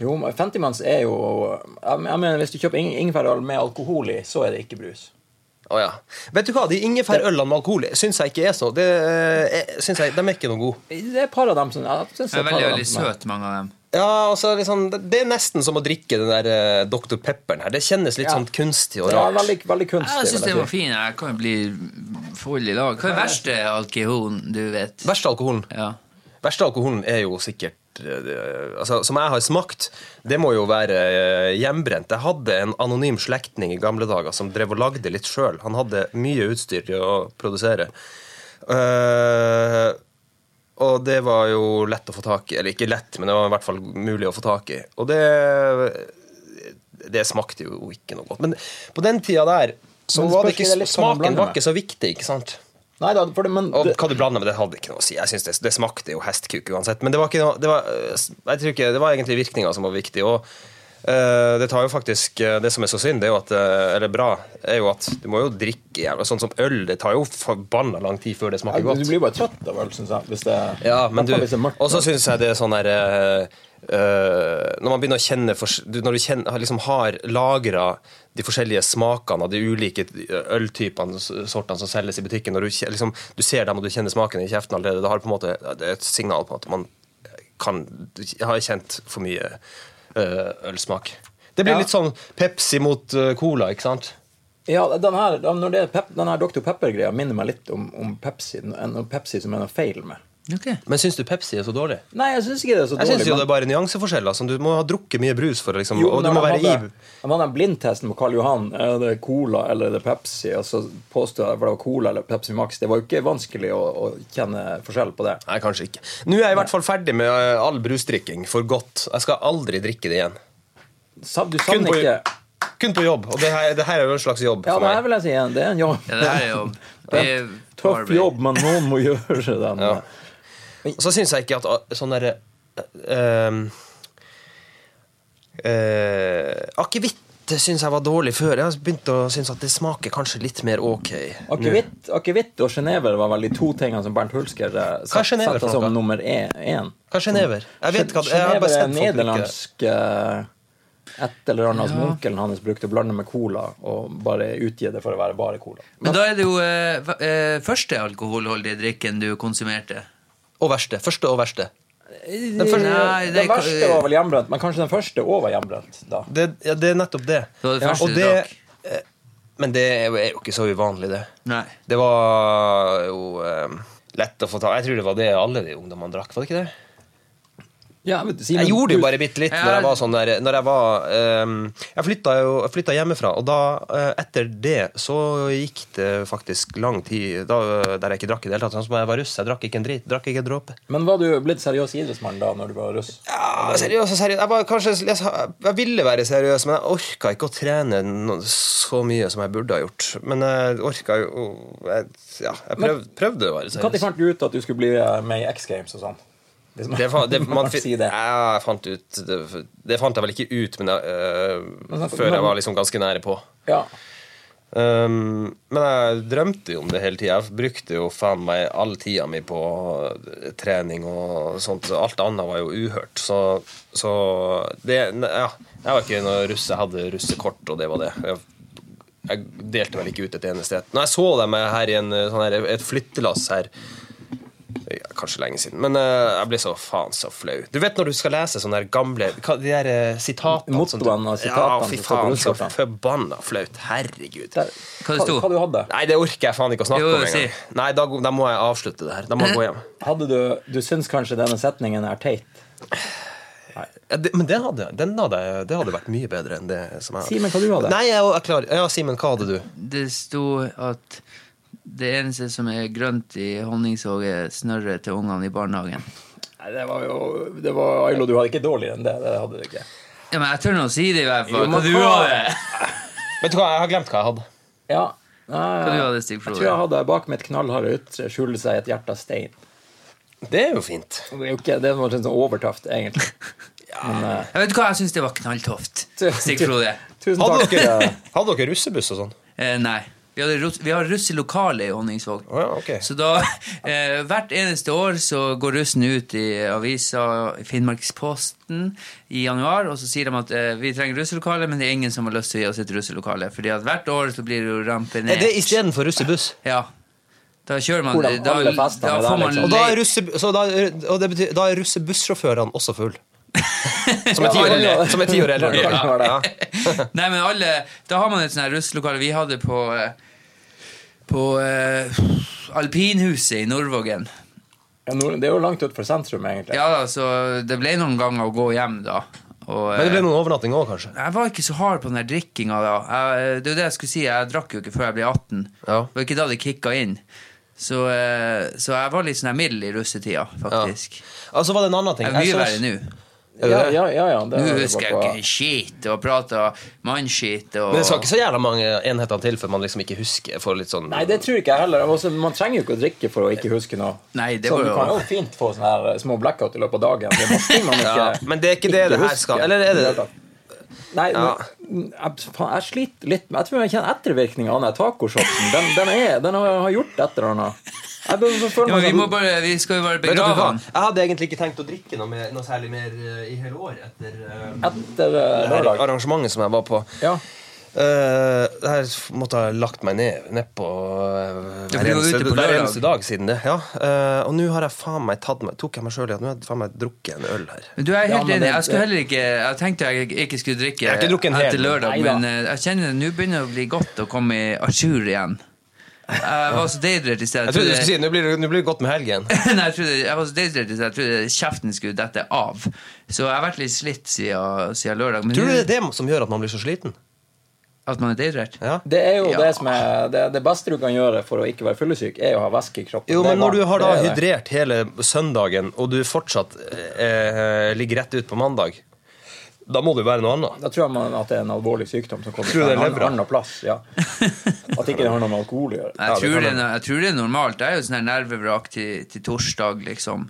Speaker 2: Jo, men Fentimanns er jo Jeg jeg mener, Hvis du kjøper ing- ingefærøl med alkohol i, så er det ikke brus.
Speaker 3: Å ja. Vet du hva, de ingefærølene med alkohol syns jeg ikke er så det, eh, synes jeg, De er ikke noe gode.
Speaker 2: Det er et par av dem som jeg synes
Speaker 1: De
Speaker 2: det
Speaker 1: er
Speaker 2: er et par
Speaker 1: veldig
Speaker 2: av dem
Speaker 1: veldig
Speaker 2: som er-
Speaker 1: søte, mange av dem.
Speaker 3: Ja, altså, liksom, det, det er nesten som å drikke den der eh, Dr. Pepperen her. Det kjennes litt
Speaker 2: Ja.
Speaker 3: sånn kunstig og
Speaker 2: Ja,
Speaker 3: rart.
Speaker 2: veldig, veldig kunstig.
Speaker 1: Jeg syns
Speaker 2: vil jeg
Speaker 1: den var
Speaker 2: si.
Speaker 1: fin. Jeg kan jo bli full i dag. Hva er den verste alkoholen du vet?
Speaker 3: Verste alkoholen.
Speaker 1: Ja.
Speaker 3: Verste alkoholen er jo sikkert eh, det- altså, Som jeg har smakt, det må jo være eh, hjemmebrent. Jeg hadde en anonym slektning i gamle dager som drev og lagde litt sjøl. Han hadde mye utstyr til å produsere. Eh, og det var jo lett å få tak i. Eller ikke lett, men det var i hvert fall mulig å få tak i. Og det Det smakte jo ikke noe godt. Men på den tida der så
Speaker 2: Men
Speaker 3: var det
Speaker 2: spørs
Speaker 3: ikke
Speaker 2: det litt sånn hva man
Speaker 3: Smaken
Speaker 2: blander
Speaker 3: var ikke så viktig, ikke sant?
Speaker 2: Nei da, for det, men
Speaker 3: Og
Speaker 2: det,
Speaker 3: hva du blander med, det hadde ikke noe å si. Jeg synes det, det smakte jo hestkuk uansett. Men det var, ikke noe, det var, øh, jeg tror ikke, det var egentlig virkninga som var viktig. Og øh, det tar jo faktisk øh, Det som er så synd, det er jo at, øh, eller bra, er jo at du må jo drikke jævla Sånn som øl, det tar jo forbanna lang tid før det
Speaker 2: Ja,
Speaker 3: smaker
Speaker 2: du
Speaker 3: godt.
Speaker 2: blir bare trøtt av øl, syns jeg. Hvis det,
Speaker 3: Ja, men du,
Speaker 2: hvertfall hvis det er mørkt.
Speaker 3: og så syns jeg det er sånn der eh, eh, Når man begynner å kjenne fors- du, Når du kjenner, har- liksom har lagra de forskjellige smakene av de ulike øltypene s- sortene som selges i butikken Når du, kje- liksom, du ser dem og du kjenner smaken i kjeften allerede, da har du på en måte, det er et signal på at man kan, du har kjent for mye eh, ølsmak. Det blir
Speaker 2: Ja.
Speaker 3: litt sånn Pepsi mot eh, Cola, ikke sant?
Speaker 2: Ja, den her, den- når det er pep, den her Dr. Pepper-greia minner meg litt om, om Pepsi. En en Pepsi som er noe feil med.
Speaker 1: Ok.
Speaker 3: Men syns du Pepsi er så dårlig?
Speaker 2: Nei, jeg syns ikke det er så
Speaker 3: Jeg syns
Speaker 2: dårlig.
Speaker 3: jo
Speaker 2: men-
Speaker 3: det er bare nyanseforskjeller. Sånn, du må ha drukket mye brus for å liksom
Speaker 2: Jo,
Speaker 3: Og
Speaker 2: men
Speaker 3: du må
Speaker 2: når
Speaker 3: være
Speaker 2: de
Speaker 3: i
Speaker 2: hadde- De hadde den blindtesten på Karl Johan. Er det Cola eller er det Pepsi? Og så påstod jeg at det var Cola eller Pepsi Max. Det var jo ikke vanskelig å, å kjenne forskjell på det.
Speaker 3: Nei, kanskje ikke. Nå er jeg i hvert fall ferdig med eh, all brusdrikking for godt. Jeg skal aldri drikke det igjen.
Speaker 2: Sa- Du
Speaker 3: Kun
Speaker 2: savner
Speaker 3: på,
Speaker 2: ikke
Speaker 3: kun på jobb. Og det her, det her er jo en slags jobb
Speaker 2: Ja,
Speaker 3: for
Speaker 2: det her
Speaker 3: meg.
Speaker 2: vil jeg si igjen. Det er en jobb.
Speaker 1: Ja, det her er jo
Speaker 2: Det
Speaker 1: det
Speaker 2: er
Speaker 1: er
Speaker 2: en Tøff
Speaker 1: Barbie.
Speaker 2: jobb, men noen må gjøre den.
Speaker 3: Ja. Og så syns jeg ikke at ah, sånn derre eh, eh, Akevitt det syns jeg var dårlig før. Jeg har begynt å synes at det smaker kanskje litt mer ok. nå.
Speaker 2: Akevitt akevitt og sjenever var vel de to tingene som Bernt Hulsker eh,
Speaker 3: Hva er
Speaker 2: set-
Speaker 3: sjenever
Speaker 2: satte
Speaker 3: for
Speaker 2: som
Speaker 3: noe?
Speaker 2: nummer én.
Speaker 3: Hva er sjenever? Jeg vet ikke, at- jeg har
Speaker 2: Sjenever
Speaker 3: bare
Speaker 2: er
Speaker 3: sett folk drikke det.
Speaker 2: nederlandsk eh, et eller annet som onkelen hans brukte å blande med cola og bare utgi det for å være bare cola.
Speaker 1: Men da er det jo eh, hva- eh, første alkoholholdige drikken du konsumerte.
Speaker 3: Og verste. Første og verste.
Speaker 2: Den,
Speaker 1: første- Nei, det-
Speaker 2: verste var vel hjemmebrent, men kanskje den første òg var hjemmebrent. da.
Speaker 3: Det, ja, det er nettopp det.
Speaker 1: Det var det
Speaker 3: Ja,
Speaker 1: første
Speaker 3: og
Speaker 1: du drakk.
Speaker 3: eh, Men det er jo- er jo ikke så uvanlig, det.
Speaker 1: Nei.
Speaker 3: Det var jo eh, lett å få ta Jeg tror det var det alle de ungdommene drakk, var det ikke det?
Speaker 2: Ja, men Simon,
Speaker 3: Jeg gjorde jo
Speaker 2: du-
Speaker 3: bare bitte litt
Speaker 1: Ja.
Speaker 3: når jeg var sånn der Når jeg var eh, Jeg flytta jo jeg flytta hjemmefra, og da, eh, etter det, så gikk det faktisk lang tid da, eh, der jeg ikke drakk i det hele tatt. Sånn som jeg var russ. Jeg drakk ikke en drit. Drakk ikke en dråpe.
Speaker 2: Men var du blitt seriøs idrettsmann da når du var russ?
Speaker 3: Ja, seriøs og seriøs. Jeg, var kanskje, jeg, jeg ville være seriøs, men jeg orka ikke å trene no, så mye som jeg burde ha gjort. Men jeg orka jo jeg, Ja, jeg prøv, prøvde å være
Speaker 2: Når
Speaker 3: seriøs.
Speaker 2: fant du ut at du skulle bli eh, med i X Games og sånn? Hvis man-
Speaker 3: Det, fa- det, man,
Speaker 2: man
Speaker 3: fi-
Speaker 2: sier det.
Speaker 3: ja, jeg fant ut det, det fant jeg vel ikke ut men jeg, øh,
Speaker 2: Men sant,
Speaker 3: før
Speaker 2: men-
Speaker 3: jeg var liksom ganske nære på.
Speaker 2: Ja.
Speaker 3: Um, men jeg drømte jo om det hele tida. Jeg brukte jo faen meg all tida mi på øh, trening og sånt. så Alt annet var jo uhørt. Så, så det ne- Ja. Jeg var ikke noe russe. Jeg hadde russekort, og det var det. Jeg, jeg delte vel ikke ut et eneste et. Når jeg så dem her i en, øh, sånn her, et flyttelass her ja, Kanskje lenge siden, men øh, jeg ble så faen så flau. Du vet når du skal lese sånne her gamle hva, De der øh, sitatene som du-
Speaker 2: Mottoene og sitatene
Speaker 3: Ja, fy
Speaker 2: som står på
Speaker 3: faen, så
Speaker 2: russekortene.
Speaker 3: forbanna flaut. Herregud.
Speaker 2: Der.
Speaker 1: Hva det sto?
Speaker 2: hva du hadde
Speaker 3: Nei, det orker jeg faen ikke å snakke
Speaker 1: Jo,
Speaker 3: om engang.
Speaker 1: si.
Speaker 3: Nei, da, da må jeg avslutte det her. Da må jeg gå hjem.
Speaker 2: Hadde du, du syns kanskje denne setningen er teit?
Speaker 3: Ja, det, men den hadde, den hadde, det hadde vært mye bedre enn det som jeg
Speaker 2: Simen, hva du hadde?
Speaker 3: Nei, jeg, jeg klarer Ja, Simen, hva hadde du?
Speaker 1: Det sto at det eneste som er grønt i honningsog, er snørret til ungene i barnehagen.
Speaker 2: Nei, det var jo det var, Ailo, du hadde ikke dårligere enn det. Det hadde du ikke.
Speaker 1: Ja, men jeg tør nå å si det, i hvert
Speaker 2: Jo,
Speaker 1: fall.
Speaker 2: men
Speaker 1: Hva du
Speaker 2: hva-
Speaker 1: hadde?
Speaker 3: Vet du hva, jeg har glemt hva jeg hadde.
Speaker 2: Ja,
Speaker 1: Hva du hadde, Stig
Speaker 2: Jeg tror jeg
Speaker 1: Frode?
Speaker 2: hadde bak mitt knallharde ytre skjule seg et hjerte av stein.
Speaker 3: Det er jo fint.
Speaker 2: Det er jo ikke det er noe sånn overtaft, egentlig. Men, eh,
Speaker 1: Jeg vet du hva, jeg syns det var knalltøft.
Speaker 2: Tu-
Speaker 1: Stig Frode.
Speaker 2: tusen
Speaker 3: Hadde
Speaker 2: takk.
Speaker 3: dere, hadde dere russebuss og sånn?
Speaker 1: Eh, nei. Vi, hadde russ, vi har russ i lokalet i Honningsvåg.
Speaker 3: Å ja, ok.
Speaker 1: Så da, eh, hvert eneste år så går russen ut i avisa i Finnmarksposten i januar, og så sier de at eh, vi trenger russelokale, men det er ingen som har lyst til å gi oss et russelokale. Fordi at hvert år så blir det jo rampenert.
Speaker 3: Er det istedenfor russebuss?
Speaker 1: Ja. Da kjører man
Speaker 2: Hvor de-
Speaker 1: da,
Speaker 2: alle festene
Speaker 1: da
Speaker 2: er der,
Speaker 1: får man
Speaker 2: liksom.
Speaker 3: Og da
Speaker 1: le-
Speaker 3: er, russe, så da, og det betyr, da er russebussjåførene også full Som er ti år
Speaker 2: Ja,
Speaker 3: eldre. Som er ti år eldre.
Speaker 2: Ja, kan være det.
Speaker 1: Nei, men alle Da har man et sånt her russelokale vi hadde på eh, På eh, alpinhuset i Nordvågen.
Speaker 2: Ja, Nord- det er jo langt utenfor sentrum, egentlig.
Speaker 1: Ja da, så det ble noen ganger å gå hjem da. Og,
Speaker 3: Men det ble
Speaker 1: eh,
Speaker 3: noen overnattinger òg, kanskje?
Speaker 1: Jeg var ikke så hard på den der drikkinga da. Jeg, eh, det er jo det jeg skulle si, jeg drakk jo ikke før jeg ble 18.
Speaker 3: Ja.
Speaker 1: Det var ikke da det kicka inn. Så, eh, så jeg var litt sånn her middel i russetida, faktisk.
Speaker 3: Altså, var det en annen ting?
Speaker 1: Jeg er mye
Speaker 3: Jeg så-
Speaker 1: verre nå.
Speaker 3: Er det
Speaker 2: ja,
Speaker 3: det?
Speaker 2: ja, ja, ja, det
Speaker 1: Nå
Speaker 2: er det
Speaker 1: husker jeg
Speaker 2: bare på-
Speaker 1: ikke shit og prater mannskit og
Speaker 3: Men det skal ikke så jævla mange enheter til før man liksom ikke husker. For litt sånn
Speaker 2: Nei, det tror ikke jeg heller. Altså, man trenger jo ikke å drikke for å ikke huske noe.
Speaker 1: Nei, det
Speaker 2: så
Speaker 1: var
Speaker 2: du
Speaker 1: jo-
Speaker 2: kan jo fint få sånne her eh, små blackout i løpet av dagen. Det er masse ting man ikke,
Speaker 3: Ja, men det er ikke det det her skal-
Speaker 2: husker.
Speaker 3: eller er det det?
Speaker 2: Nei,
Speaker 3: Ja.
Speaker 2: men, mm, jeg, faen, jeg sliter litt med Jeg tror jeg kjenner ettervirkningen av den tacoshotsen. Den, den, er- den har har gjort et eller annet. Jeg bør- bør føle
Speaker 1: ja, men
Speaker 2: meg sånn
Speaker 1: vi,
Speaker 2: som-
Speaker 1: må bare, vi skal jo bare
Speaker 3: Vet dere
Speaker 1: begrave
Speaker 3: hva?
Speaker 1: han.
Speaker 3: Jeg hadde egentlig ikke tenkt å drikke noe, mer- noe særlig mer eh, i hele år etter eh,
Speaker 2: Etter eh,
Speaker 3: det her
Speaker 2: lørdag.
Speaker 3: arrangementet som jeg var på.
Speaker 2: Ja.
Speaker 3: Eh, det her måtte jeg ha lagt meg ned nedpå uh,
Speaker 1: Ja, for du var ute på
Speaker 3: hver
Speaker 1: lørdag.
Speaker 3: eneste dag siden det. Ja. Eh, og nå har jeg faen meg tatt meg Tok jeg meg sjøl i at nå har jeg faen meg drukket en øl her.
Speaker 1: Men du jeg er
Speaker 2: Ja,
Speaker 1: helt
Speaker 2: men
Speaker 1: enig.
Speaker 2: det-
Speaker 1: Jeg skulle heller ikke Jeg tenkte jeg ikke skulle drikke
Speaker 3: Jeg har ikke drukket en hel.
Speaker 1: etter lørdag,
Speaker 2: Neida.
Speaker 1: men eh, jeg kjenner det nå begynner det å bli godt å komme i à jour igjen. Jeg var så deidrert i stedet.
Speaker 3: Jeg trodde du skulle si nå blir det- nå blir det godt med helgen.
Speaker 1: Nei, jeg, trodde, jeg var så deidrert i stedet. Jeg trodde kjeften skulle dette av. Så jeg har vært litt slitt siden, siden lørdag. Men
Speaker 3: Tror du det
Speaker 1: nå-
Speaker 3: er det som gjør at man blir så sliten?
Speaker 1: at man er deidrert?
Speaker 3: Ja.
Speaker 2: Det er jo
Speaker 1: Ja.
Speaker 2: det som er det, det beste du kan gjøre for å ikke være fyllesyk, er å ha væske i kroppen.
Speaker 3: Jo,
Speaker 2: Det er
Speaker 3: men når du
Speaker 2: varmt.
Speaker 3: har da
Speaker 2: Det er det.
Speaker 3: hydrert hele søndagen, og du fortsatt eh, ligger rett ut på mandag, da må det jo være noe annet.
Speaker 2: Da tror jeg man at det er en alvorlig sykdom som kommer
Speaker 3: Tror du
Speaker 2: fra
Speaker 3: det
Speaker 2: en
Speaker 3: er
Speaker 2: annen,
Speaker 3: levra?
Speaker 2: annen plass. Ja. At ikke det har noe med alkohol å gjøre.
Speaker 1: Nei, Jeg,
Speaker 3: Ja, det
Speaker 1: tror
Speaker 3: kan
Speaker 1: det er, no- jeg tror det er normalt. Jeg er jo sånn her nervevrak til, til torsdag, liksom.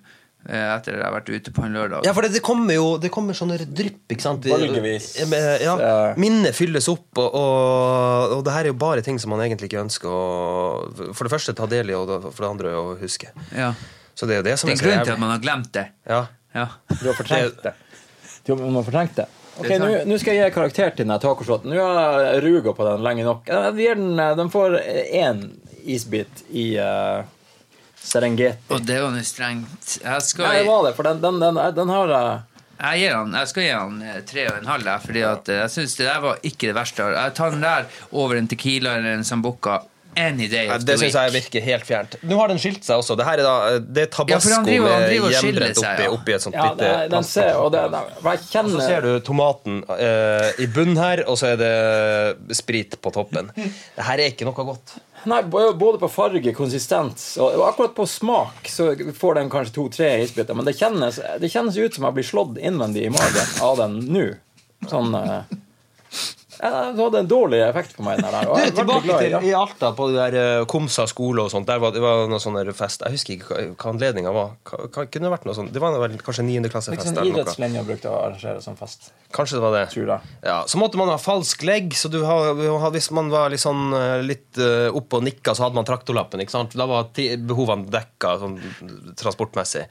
Speaker 1: eh, Etter at jeg har vært ute på en lørdag.
Speaker 3: Ja, for det, det kommer jo det kommer sånne drypp, ikke sant?
Speaker 2: Bølgevis.
Speaker 3: Ja, men, Ja,
Speaker 2: Ja.
Speaker 3: minnet fylles opp, og, og, og det her er jo bare ting som man egentlig ikke ønsker å For det første ta del i, og da- for det andre å huske.
Speaker 1: Ja.
Speaker 3: Så det er jo det som
Speaker 1: Det er en grunn til at man har glemt det.
Speaker 3: Ja.
Speaker 1: Ja.
Speaker 2: Du har fortrengt det. Du har, man har fortrengt det. Ok,
Speaker 1: Det er
Speaker 2: Nå
Speaker 1: sant.
Speaker 2: nå skal jeg gi karakter til denne tacoshoten. Nå har jeg ruga på den lenge nok. Eh, Vi gir den, eh, den får én isbit i eh, Serengeti.
Speaker 1: Og det var nå strengt. Jeg
Speaker 2: Nei, det
Speaker 1: skal,
Speaker 2: var det, for den, den, den, den har eh,
Speaker 1: jeg, gir han, jeg skal gi han eh, tre og en halv, jeg, fordi at eh, jeg syns det der var ikke det verste. Jeg tar den der over en Tequila eller en Sambuca any day
Speaker 3: Ja,
Speaker 1: of
Speaker 3: Det
Speaker 1: the
Speaker 3: syns
Speaker 1: week.
Speaker 3: jeg virker helt fjernt. Nå har den skilt seg også. Det her er da
Speaker 1: Ja,
Speaker 3: det er
Speaker 1: for
Speaker 3: tabasco
Speaker 1: han driver- han
Speaker 3: med
Speaker 1: driver og skiller
Speaker 3: hjemmebrent
Speaker 1: seg,
Speaker 3: oppi,
Speaker 1: ja.
Speaker 3: oppi et sånt
Speaker 2: Ja,
Speaker 3: lite
Speaker 2: den, den
Speaker 3: plast-
Speaker 2: ser og det, den, Jeg
Speaker 3: Så ser
Speaker 2: kjenner
Speaker 3: du tomaten eh, i bunnen her, og så er det sprit på toppen. Det her er ikke noe godt.
Speaker 2: Nei, b- både på farge, konsistens og og akkurat på smak så får den kanskje to-tre isbiter. Men det kjennes, det kjennes ut som jeg blir slått innvendig i magen av den nå. Sånn eh, ja, Det hadde en dårlig effekt på meg. Den der, og
Speaker 3: Du,
Speaker 2: jeg er veldig
Speaker 3: tilbake
Speaker 2: glad i
Speaker 3: til
Speaker 2: den.
Speaker 3: i Alta, på det der eh, Komsa skole og sånt. Der var det var noe sånn der fest. Jeg husker ikke hva- hva anledninga var. Hva- hva- Kunne det vært noe sånt? Det var vel kanskje 9.
Speaker 2: Litt
Speaker 3: klassefest
Speaker 2: sånn
Speaker 3: eller noe.
Speaker 2: Idrettslinja brukte å arrangere sånn fest.
Speaker 3: Kanskje det var det.
Speaker 2: Tror jeg.
Speaker 3: Ja, så måtte man ha falsk legg, så du har, har- hvis man var litt sånn eh, litt eh, oppe og nikka, så hadde man traktorlappen, ikke sant? Da var ti- behovene dekka sånn transportmessig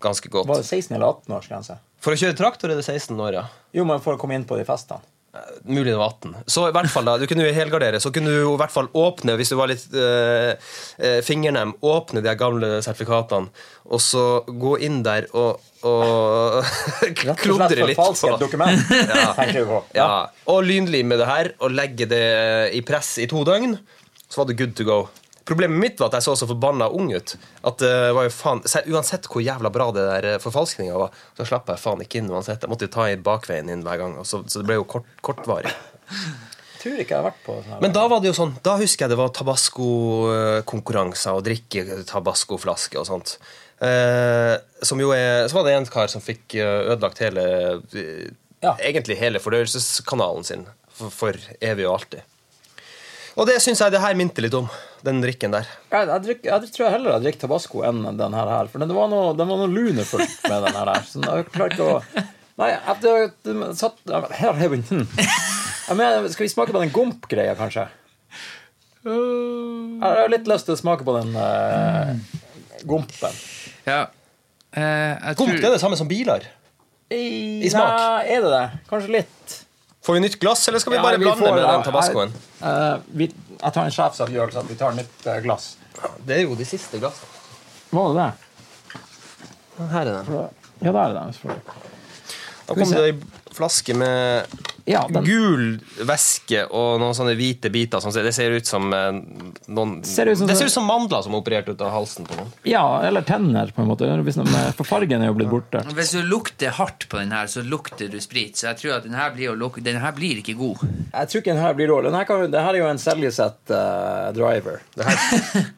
Speaker 3: ganske
Speaker 2: Var
Speaker 3: godt.
Speaker 2: det 16- eller 18-årsgrense?
Speaker 3: For å kjøre traktor er det 16 år, ja.
Speaker 2: Jo, men for å komme inn på de festene.
Speaker 3: Eh, Mulig det var 18. Så i hvert fall da, du kunne jo helgardere. Så kunne du jo i hvert fall åpne, hvis du var litt eh, eh, fingernem, åpne de her gamle sertifikatene, og så gå inn der og, og
Speaker 2: Rett og slett
Speaker 3: klodre litt
Speaker 2: forfalske et dokument, tenker vi på.
Speaker 3: Ja. Og lynlime det her og legge det i press i to døgn, så var det good to go. Problemet mitt var at jeg så så forbanna ung ut. At det var jo faen, se- Uansett hvor jævla bra det der forfalskninga var, så slapp jeg faen ikke inn uansett. Jeg måtte jo ta i bakveien inn hver gang, og så, så det ble jo kort, kortvarig.
Speaker 2: Jeg tror ikke jeg har vært på sånn. her.
Speaker 3: Men da var det jo sånn, da husker jeg det var tabasco-konkurranser og drikke tabasco-flaske og sånt. Eh, som jo er, så var det en kar som fikk eh, ødelagt hele eh,
Speaker 2: Ja.
Speaker 3: Egentlig hele fordøyelseskanalen sin for, for evig og alltid. Og det syns jeg det her minte litt om. Den drikken der.
Speaker 2: Jeg, jeg, drikk, jeg tror jeg heller jeg drikker Tabasco enn den her. her, For den var noe, den var noe lunefullt med den her. her så jeg klarer ikke å Nei, jeg, det, det, satt, her er bunten. Jeg mener, skal vi smake på den gomp-greia, kanskje? Jeg har litt lyst til å smake på den eh, gompen.
Speaker 1: Ja. Eh, jeg
Speaker 3: Gomp
Speaker 1: tror-
Speaker 3: det er det samme som biler.
Speaker 2: I,
Speaker 3: smak.
Speaker 2: Nei, er det det? Kanskje litt.
Speaker 3: Får vi nytt glass, eller skal vi bare
Speaker 2: Ja, vi
Speaker 3: blande
Speaker 2: får-
Speaker 3: med
Speaker 2: ja,
Speaker 3: den tabascoen?
Speaker 2: Jeg, eh, vi, jeg tar en sjefsavgjørelse at vi tar nytt eh, glass.
Speaker 3: Det er jo de siste glassene.
Speaker 2: Var det det?
Speaker 3: Her er den.
Speaker 2: Ja, det er det. selvfølgelig.
Speaker 3: Da kom det ei flaske med
Speaker 2: Ja, den
Speaker 3: gul væske og noen sånne hvite biter. Sånn. Det ser ut som eh, noen
Speaker 2: Ser ut som-
Speaker 3: Det ser ut som mandler som er operert ut av halsen på noen.
Speaker 2: Ja, eller tenner, på en måte. Hvis de, eh, for fargen er jo blitt borte.
Speaker 1: Hvis du lukter hardt på den her, så lukter du sprit. Så jeg tror at den her blir, å luk den her blir ikke god.
Speaker 2: Jeg tror ikke den her blir dårlig. Den her, kan, den her er jo en Seljeseth eh, driver.
Speaker 3: Det her,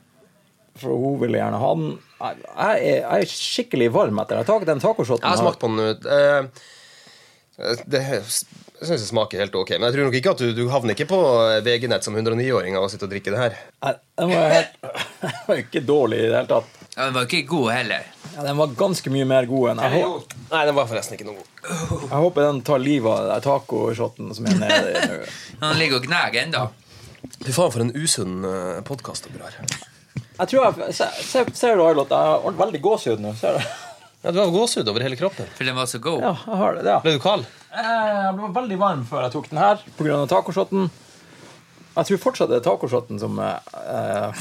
Speaker 2: For hun vil gjerne ha den. Jeg, jeg, er, jeg er skikkelig varm etter den. Tak- den tacoshoten.
Speaker 3: jeg har
Speaker 2: her.
Speaker 3: smakt på den ut. Eh, det jeg synes det smaker helt ok, men jeg tror nok ikke at du, du havner ikke på eh, VG-nett som 109-åring av å sitte og drikke det her.
Speaker 2: Nei, Den var, helt, den var ikke dårlig i det hele tatt.
Speaker 1: Ja, Den var ikke god heller.
Speaker 2: Ja, den var ganske mye mer god enn jeg, hå-
Speaker 3: Nei, den var forresten ikke noe god.
Speaker 2: jeg håper den tar livet av den der tacoshoten som er nede i nå.
Speaker 1: Han ligger og gnager ennå.
Speaker 3: Fy faen, for en usunn uh, podkast dere har.
Speaker 2: Jeg tror jeg, se- se- Ser du, Ailot, jeg har ordentlig veldig gåsehud nå. Ser du?
Speaker 3: Ja, du har gåsehud over hele kroppen.
Speaker 1: For den var så god.
Speaker 2: Ja, jeg har det. ja.
Speaker 3: Ble du kald?
Speaker 2: Eh, Jeg ble veldig varm før jeg tok den her pga. tacoshoten. Jeg tror fortsatt det er tacoshoten som eh,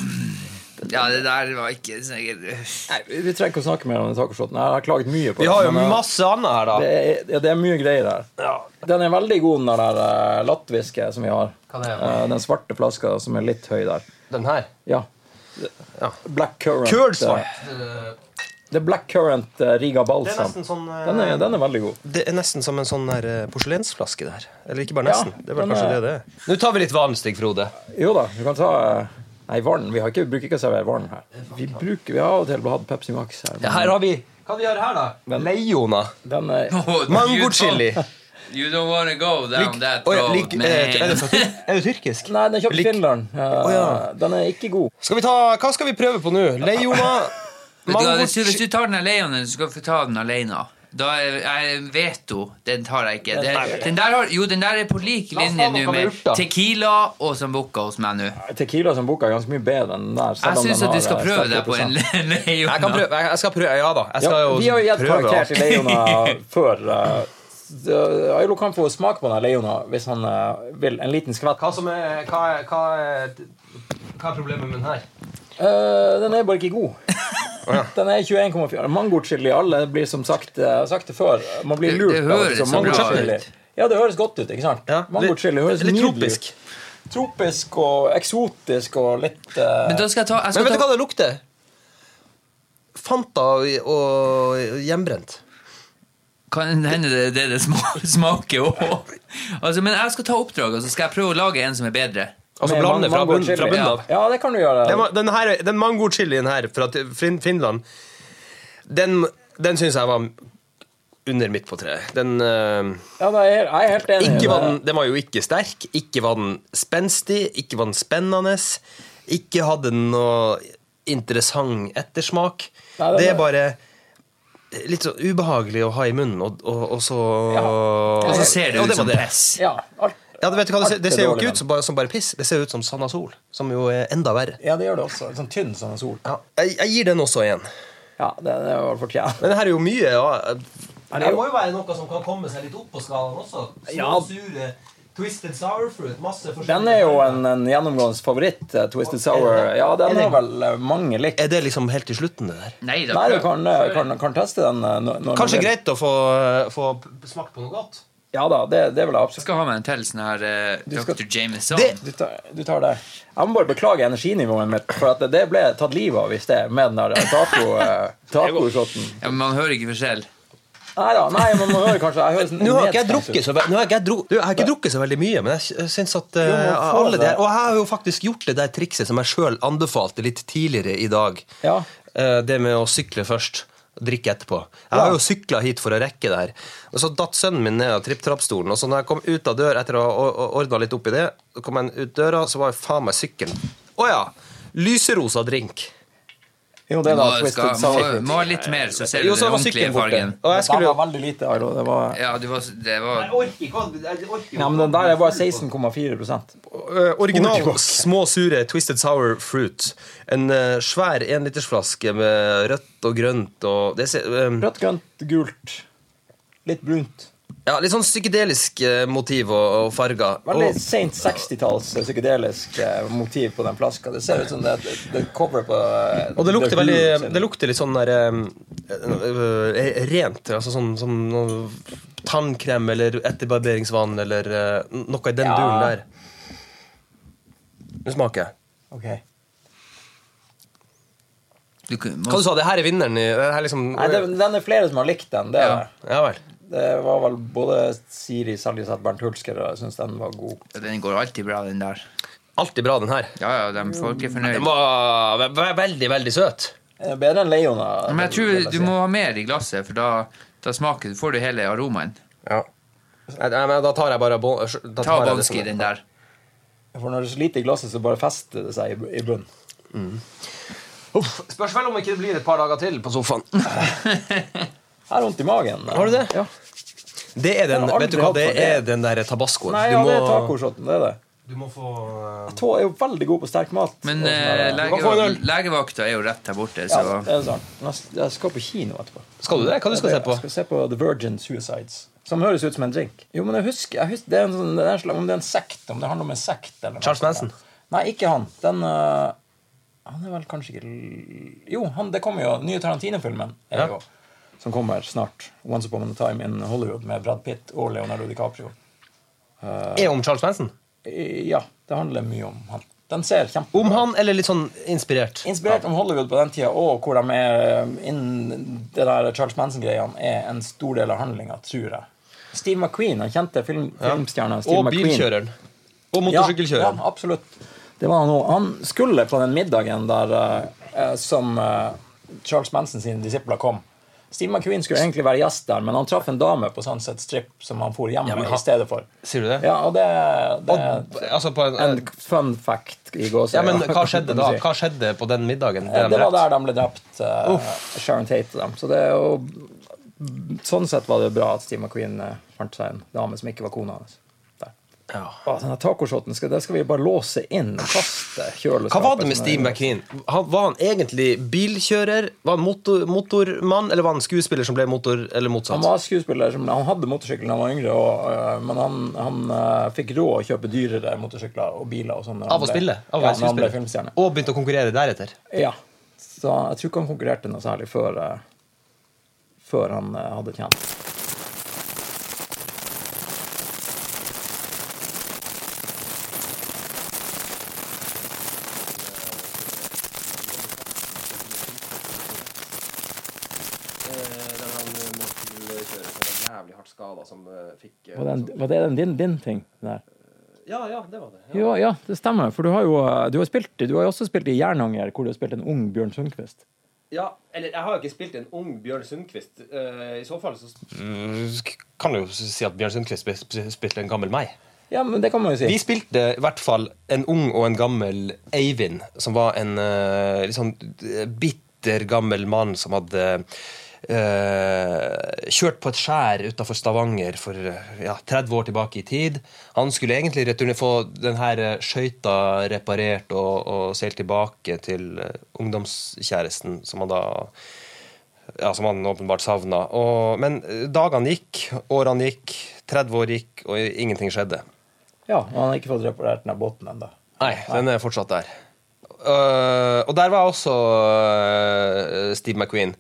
Speaker 1: Ja, det der var ikke så- Jeg
Speaker 2: Nei, vi trenger ikke å snakke mer om den tacoshoten. Jeg har klaget mye på
Speaker 3: Vi
Speaker 2: den,
Speaker 3: har jo
Speaker 2: men, eh,
Speaker 3: masse annet
Speaker 2: det
Speaker 3: her, da.
Speaker 2: er, ja, det er mye greier her. Den er veldig god, den der eh, latviske som vi har.
Speaker 1: Hva det er?
Speaker 2: Eh, den svarte flaska som er litt høy der.
Speaker 3: Den her.
Speaker 2: Ja.
Speaker 3: Ja.
Speaker 2: Black Current.
Speaker 3: Kul svart.
Speaker 2: Det er Black Current eh, Riga Balsam.
Speaker 3: sånn eh,
Speaker 2: Den er, den er veldig god.
Speaker 3: Det er nesten som en sånn der eh, porselensflaske der. Eller ikke bare nesten.
Speaker 2: Ja,
Speaker 3: det er vel
Speaker 2: den
Speaker 3: kanskje
Speaker 2: er-
Speaker 3: det det er. Nå tar vi litt vann, Stig Frode.
Speaker 2: Jo da, du kan ta eh, Nei, vann. Vi, har ikke, vi bruker ikke å servere vann her. Vi bruker, vi har av og til hatt Pepsi Max her. men-
Speaker 3: her har vi Hva vi gjør her, da? Leiona.
Speaker 2: Den er,
Speaker 1: Oh, you
Speaker 3: Mangochili.
Speaker 1: don't- You don't wanna go down that
Speaker 3: Oi,
Speaker 1: road,
Speaker 3: lik-
Speaker 1: man.
Speaker 3: eh, Er det fra Tyr- er det tyrkisk?
Speaker 2: nei, den er kjøpt i
Speaker 3: Lik-
Speaker 2: Finland. Eh,
Speaker 3: ja.
Speaker 2: Den er ikke god.
Speaker 3: Skal vi ta Hva skal vi prøve på nå? Leiona,
Speaker 1: Vet du hva, hvis, du, hvis
Speaker 3: mangochili
Speaker 1: du tar den alene, så skal du få ta den alene. Da er jeg veto. Den tar jeg ikke. Det, den der har, jo, den der er på lik
Speaker 3: La oss ta
Speaker 1: linje
Speaker 3: noe
Speaker 1: nå med
Speaker 3: lurt, da.
Speaker 1: Tequila og Sambuca hos meg nå.
Speaker 2: Tequila som boka er ganske mye bedre enn den der. selv
Speaker 1: Jeg
Speaker 2: om den
Speaker 1: syns at
Speaker 2: har,
Speaker 1: du skal
Speaker 2: eh,
Speaker 1: prøve
Speaker 2: 30%.
Speaker 1: deg på en lejon.
Speaker 3: Jeg kan prøve. Jeg jeg skal prøve. Ja da. Jeg
Speaker 2: Ja,
Speaker 3: skal jo
Speaker 2: vi har jo gitt
Speaker 3: prøve.
Speaker 2: karakter
Speaker 3: alt.
Speaker 2: til Leona før. eh, s- eh, Ailo kan få smake på den Leona hvis han eh, vil. En liten skvett.
Speaker 3: Hva som er Hva er, hva er, hva er problemet med den her?
Speaker 2: Eh, den er bare ikke god. Den er 21,4. Mangochili. Alle blir som sagt, eh, sagt det før. Man blir
Speaker 1: Det-
Speaker 2: lurt.
Speaker 1: det
Speaker 2: av
Speaker 1: høres
Speaker 2: liksom
Speaker 1: så bra
Speaker 2: mangochili.
Speaker 1: ut.
Speaker 2: Ja, det høres godt ut. ikke sant?
Speaker 3: Ja,
Speaker 2: Mangochili høres
Speaker 3: litt
Speaker 2: nydelig ut.
Speaker 3: tropisk.
Speaker 2: Tropisk og eksotisk og litt eh,
Speaker 1: Men da skal jeg ta, jeg
Speaker 3: Men
Speaker 1: skal
Speaker 3: vet du
Speaker 1: ta
Speaker 3: hva det lukter? Fanta og- og hjemmebrent.
Speaker 1: Kan hende det er det det sma- smaker òg. Altså, men jeg skal ta oppdraget, og så skal jeg prøve å lage en som er bedre.
Speaker 3: Altså
Speaker 2: med
Speaker 3: blande fra
Speaker 2: mango
Speaker 3: bunn-
Speaker 2: chili.
Speaker 3: fra bunnen av.
Speaker 2: Ja. ja, det kan du gjøre.
Speaker 3: Den, var- den, her, den mango-chilien her fra T- Fin- Finland, den, den syns jeg var under midt på treet. Den, eh,
Speaker 2: Ja, da er, jeg- jeg er helt enig. i
Speaker 3: ikke
Speaker 2: det.
Speaker 3: var den, den var jo ikke sterk, ikke var den spenstig, ikke var den spennende. Ikke hadde den noe interessant ettersmak.
Speaker 2: Nei, den
Speaker 3: det
Speaker 2: er-
Speaker 3: er bare litt sånn ubehagelig å ha i munnen, og, og, og så
Speaker 1: Og så
Speaker 3: Ja,
Speaker 1: ser det
Speaker 3: ja,
Speaker 1: ut
Speaker 3: var
Speaker 1: som
Speaker 3: det.
Speaker 1: press.
Speaker 2: Ja, alt.
Speaker 3: Ja, det, vet du hva, det, ser,
Speaker 2: Alt
Speaker 3: det
Speaker 2: er
Speaker 3: ser jo
Speaker 2: dårlig,
Speaker 3: ikke
Speaker 2: den.
Speaker 3: ut som bare, som bare piss, det ser ut som Sandasol, som jo er enda verre.
Speaker 2: ja, det gjør det også. Litt Sånn tynn som en sol.
Speaker 3: Ja, jeg, jeg gir den også igjen.
Speaker 2: Ja, det, det var fortjent.
Speaker 3: Men det her er jo mye ja.
Speaker 2: Her er jo-
Speaker 3: jo være noe som kan komme seg litt opp på skalaen også. Små,
Speaker 2: Ja.
Speaker 3: sure Twisted Sour Fruit. Masse forskjellige
Speaker 2: Den er jo en, en gjennomgående favoritt, eh, Twisted Sour. Ja, den har vel eh, mange likt.
Speaker 3: Er det liksom helt til slutten, det der?
Speaker 1: Nei da.
Speaker 2: Nei, du kan, eh, kan, kan teste den eh, når når
Speaker 3: Kanskje
Speaker 2: du vil.
Speaker 3: greit å få, få smakt på noe godt?
Speaker 2: Ja da, det, det vil jeg absolutt.
Speaker 1: Jeg skal ha meg en til sånn her eh,
Speaker 2: skal-
Speaker 1: Dr. Jameson.
Speaker 3: Det-
Speaker 2: Du tar, du tar det. Jeg må bare beklage energinivået mitt, for at det ble tatt livet av i sted med den der taco, eh, tacoshoten.
Speaker 1: Ja, men man hører ikke forskjell.
Speaker 2: Nei da, nei, man må høre kanskje jeg høres
Speaker 3: Nå har ikke jeg
Speaker 2: nedstemt ut.
Speaker 3: drukket så, ve nå har ikke jeg dru du, jeg har ikke drukket så veldig mye, men jeg sy- syns at eh,
Speaker 2: Jo, men få
Speaker 3: alle de
Speaker 2: det.
Speaker 3: her Og jeg har jo faktisk gjort det der trikset som jeg sjøl anbefalte litt tidligere i dag.
Speaker 2: Ja.
Speaker 3: Eh, det med å sykle først. drikke etterpå. Jeg har jo sykla hit for å rekke det her. Og så datt sønnen min ned av tripp-trapp-stolen. Og så når jeg kom ut av dør etter å ha ordna litt opp i det, så kom jeg ut døra, så var jo faen meg sykkelen Å ja! Lyserosa drink.
Speaker 2: Jo, det er da
Speaker 1: Må-
Speaker 2: Twisted
Speaker 1: skal-
Speaker 2: Sour.
Speaker 1: må, må ha litt mer, så ser du
Speaker 3: Jo,
Speaker 1: den
Speaker 3: så var
Speaker 1: ordentlige
Speaker 3: sykkelen borte.
Speaker 1: fargen.
Speaker 3: Og jeg skulle
Speaker 2: Det
Speaker 3: jo
Speaker 2: var veldig lite, Ailo. Det var...
Speaker 1: Ja, du var, det var
Speaker 2: Ja, men den der er bare 16,4
Speaker 3: Eh, original
Speaker 2: Ordbok.
Speaker 3: små sure Twisted Sour Fruit. En eh, svær enlitersflaske med rødt og grønt og det ser, eh,
Speaker 2: Rødt, grønt, gult. Litt brunt.
Speaker 3: ja, Litt sånn psykedelisk eh, motiv og, og farger.
Speaker 2: Veldig
Speaker 3: Og,
Speaker 2: sent 60-talls psykedelisk eh, motiv på den flaska. Det ser ut som det er et- det er cover på eh,
Speaker 3: og det
Speaker 2: The
Speaker 3: lukter
Speaker 2: Who
Speaker 3: veldig
Speaker 2: sin-
Speaker 3: Det lukter litt sånn der eh, eh, eh, rent. Altså sånn, sånn noe tannkrem eller etterbarberingsvann eller eh, noe i den
Speaker 2: Ja.
Speaker 3: duren der. Nå smaker jeg.
Speaker 2: Ok.
Speaker 1: du, kunne-
Speaker 3: Hva
Speaker 1: må,
Speaker 3: du sa du? Det her er vinneren i det her er liksom,
Speaker 2: Nei, det, den er flere som har likt den. Det, er
Speaker 1: Ja.
Speaker 2: det.
Speaker 3: Ja vel.
Speaker 2: det var vel både Siri Saljeseth Bernt Hulsker og jeg syns den var god.
Speaker 1: Den går alltid bra, den der.
Speaker 3: Alltid bra, den her.
Speaker 1: Ja, ja, de folk er fornøyd.
Speaker 3: Den var ve- ve- veldig, veldig søt.
Speaker 2: Eh, Bedre enn Leona.
Speaker 1: Men jeg
Speaker 2: vil
Speaker 1: tror du
Speaker 2: si.
Speaker 1: må ha mer i glasset, for da, da smaker du, får du hele aromaen.
Speaker 3: Ja. Nei, nei, men da tar jeg bare bon, da
Speaker 1: Ta
Speaker 3: tar jeg det
Speaker 1: Banski,
Speaker 3: som-
Speaker 1: den der.
Speaker 2: For når det er så lite i glasset, så bare fester det seg i, i bunnen.
Speaker 3: Uff, Spørs vel om ikke det blir et par dager til på sofaen.
Speaker 2: Jeg har vondt i magen.
Speaker 3: Har du det?
Speaker 2: Ja.
Speaker 3: Det er den
Speaker 2: Jeg har
Speaker 3: vet du
Speaker 2: aldri
Speaker 3: hva,
Speaker 2: hatt
Speaker 3: det
Speaker 2: for det.
Speaker 3: er den der tabascoen.
Speaker 2: Nei,
Speaker 3: Du
Speaker 2: ja, det er
Speaker 3: må,
Speaker 2: tacoshoten. Det er det.
Speaker 3: du må få eh,
Speaker 2: Tå er jo veldig god på sterk mat.
Speaker 1: Men
Speaker 2: og sånn der,
Speaker 1: eh,
Speaker 2: eh,
Speaker 3: kan få en
Speaker 1: lege,
Speaker 3: øl.
Speaker 1: legevakta er jo rett her borte,
Speaker 2: Ja,
Speaker 1: så
Speaker 2: det er sant. Nest- Jeg skal på kino etterpå.
Speaker 3: Skal du det? Hva du skal
Speaker 2: Jeg-
Speaker 3: se på?
Speaker 2: Jeg skal se på The Virgin Suicides. Som høres ut som en drink. Jo, men jeg husker, jeg husker det er en sånn, det er en slags, Om det er en sekt, om det handler om en sekt eller noe
Speaker 3: Charles
Speaker 2: sånt.
Speaker 3: Manson?
Speaker 2: Nei, ikke han. Den øh, Han er vel kanskje ikke l- Jo, han, det kommer jo nye Tarantino-filmen. er
Speaker 3: Ja.
Speaker 2: jo- Som kommer snart. 'Once Upon a Time in Hollywood' med Brad Pitt og Leonardo DiCaprio.
Speaker 3: Er om Charles Manson?
Speaker 2: I- Ja, det handler mye om han. Den ser kjempebra
Speaker 3: Om han, eller litt sånn inspirert?
Speaker 2: Inspirert om Hollywood på den tida, og hvor de er eh, innen det der Charles Manson-greiene er en stor del av handlinga, tror jeg. Steve McQueen, han kjente film, filmstjerna Steve
Speaker 3: Og
Speaker 2: McQueen.
Speaker 3: bilkjøreren.
Speaker 2: Ja,
Speaker 3: Og motorsykkelkjøreren.
Speaker 2: ja, absolutt. Det var han òg. Han skulle på den middagen der eh, eh, som eh, Charles Manson sine disipler kom. Steve McQueen skulle egentlig være gjest der, men han traff en dame på Sunset Strip som han for hjem
Speaker 3: Ja, men
Speaker 2: med
Speaker 3: han-
Speaker 2: i stedet for.
Speaker 3: Sier du det?
Speaker 2: Ja, og det, det
Speaker 3: Og, altså på
Speaker 2: en
Speaker 3: en,
Speaker 2: fun fact i gåsøya.
Speaker 3: ja, men hva skjedde
Speaker 2: kan man si.
Speaker 3: da? Hva skjedde på den middagen?
Speaker 2: Eh,
Speaker 3: Ble de
Speaker 2: Det var
Speaker 3: drept?
Speaker 2: der de ble drept. eh, Sharon Tate og dem. Så det er jo Sånn sett var det bra at Steve McQueen eh, fant seg en dame som ikke var kona hans. Der.
Speaker 3: Ja.
Speaker 2: Å, Denne tacoshoten skal, den skal vi bare låse inn og kaste i kjøleskapet.
Speaker 3: Hva var det med
Speaker 2: som er-
Speaker 3: Steve McQueen? Han, var han egentlig bilkjører? Var han motor, motormann, eller var han skuespiller som ble motor, eller
Speaker 2: Han
Speaker 3: motsatt?
Speaker 2: var skuespiller som, han hadde motorsykkel da han var yngre, og, eh, men han, han eh, fikk råd å kjøpe dyrere motorsykler og biler. Og sånn når han
Speaker 3: Av å
Speaker 2: ble-
Speaker 3: spille? Av å
Speaker 2: ja, når han
Speaker 3: være
Speaker 2: ble
Speaker 3: skuespiller?
Speaker 2: filmstjerne.
Speaker 3: Og begynte å konkurrere deretter?
Speaker 2: Ja. Så jeg tror ikke han konkurrerte noe særlig før, eh, før han eh, hadde tjent.
Speaker 4: Eh,
Speaker 3: Jævlig hardt skada som fikk
Speaker 2: Var, den, var det den din, din ting? Den der?
Speaker 3: Ja, ja, det var det.
Speaker 2: Ja, ja, det stemmer. For du har jo eh, du har spilt, du har jo også spilt i Jernanger, hvor du har spilt en ung Bjørn Sundquist.
Speaker 4: Ja, eller jeg har jo ikke spilt en ung Bjørn Sundquist. Eh, I så fall så
Speaker 3: Mm, Kan jo si at Bjørn Sundquist spil- spil- spilte en gammel meg.
Speaker 2: Ja, men det kan man jo si.
Speaker 3: Vi spilte i hvert fall en ung og en gammel Eivind, som var en eh, litt sånn bitter gammel mann som hadde eh, kjørt på et skjær utafor Stavanger for eh, ja, 30 år tilbake i tid. Han skulle egentlig returne, få den her eh, skøyta reparert og, og seilt tilbake til eh, ungdomskjæresten, som han da ja, som han åpenbart savna. Og, men eh, dagene gikk, årene gikk, 30 år gikk, og ingenting skjedde.
Speaker 2: Ja, og han har ikke fått reparert den der båten ennå.
Speaker 3: Nei, den er fortsatt der. Øh, og der var også øh, Steve McQueen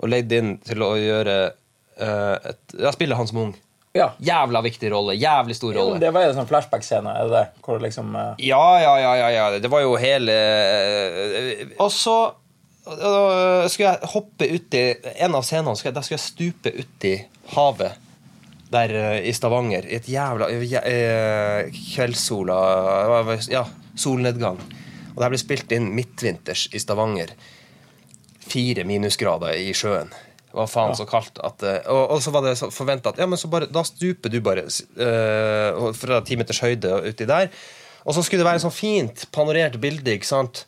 Speaker 3: og leid inn til å gjøre øh, et, Ja, spille han som ung.
Speaker 2: Ja.
Speaker 3: Jævla viktig rolle. Jævlig stor
Speaker 2: Jo,
Speaker 3: rolle.
Speaker 2: det var jo en sånn flashback-scene, er det det? Hvor det liksom eh,
Speaker 3: Ja, ja, ja, ja, ja. Det var jo hele øh, Og så øh, skulle jeg hoppe uti En av scenene skulle, jeg- der skulle jeg stupe uti havet. Der øh, i Stavanger. I et jævla øh, jæ- øh, kveldssola øh, Ja, solnedgang. Og det her ble spilt inn midtvinters i Stavanger. Fire minusgrader i sjøen. Å, faen, så kaldt at eh, Og, og så var det forventa at ja, men så bare, da stuper du bare eh, fra ti meters høyde og uti der. Og så skulle det være sånn fint panorert bilde, ikke sant?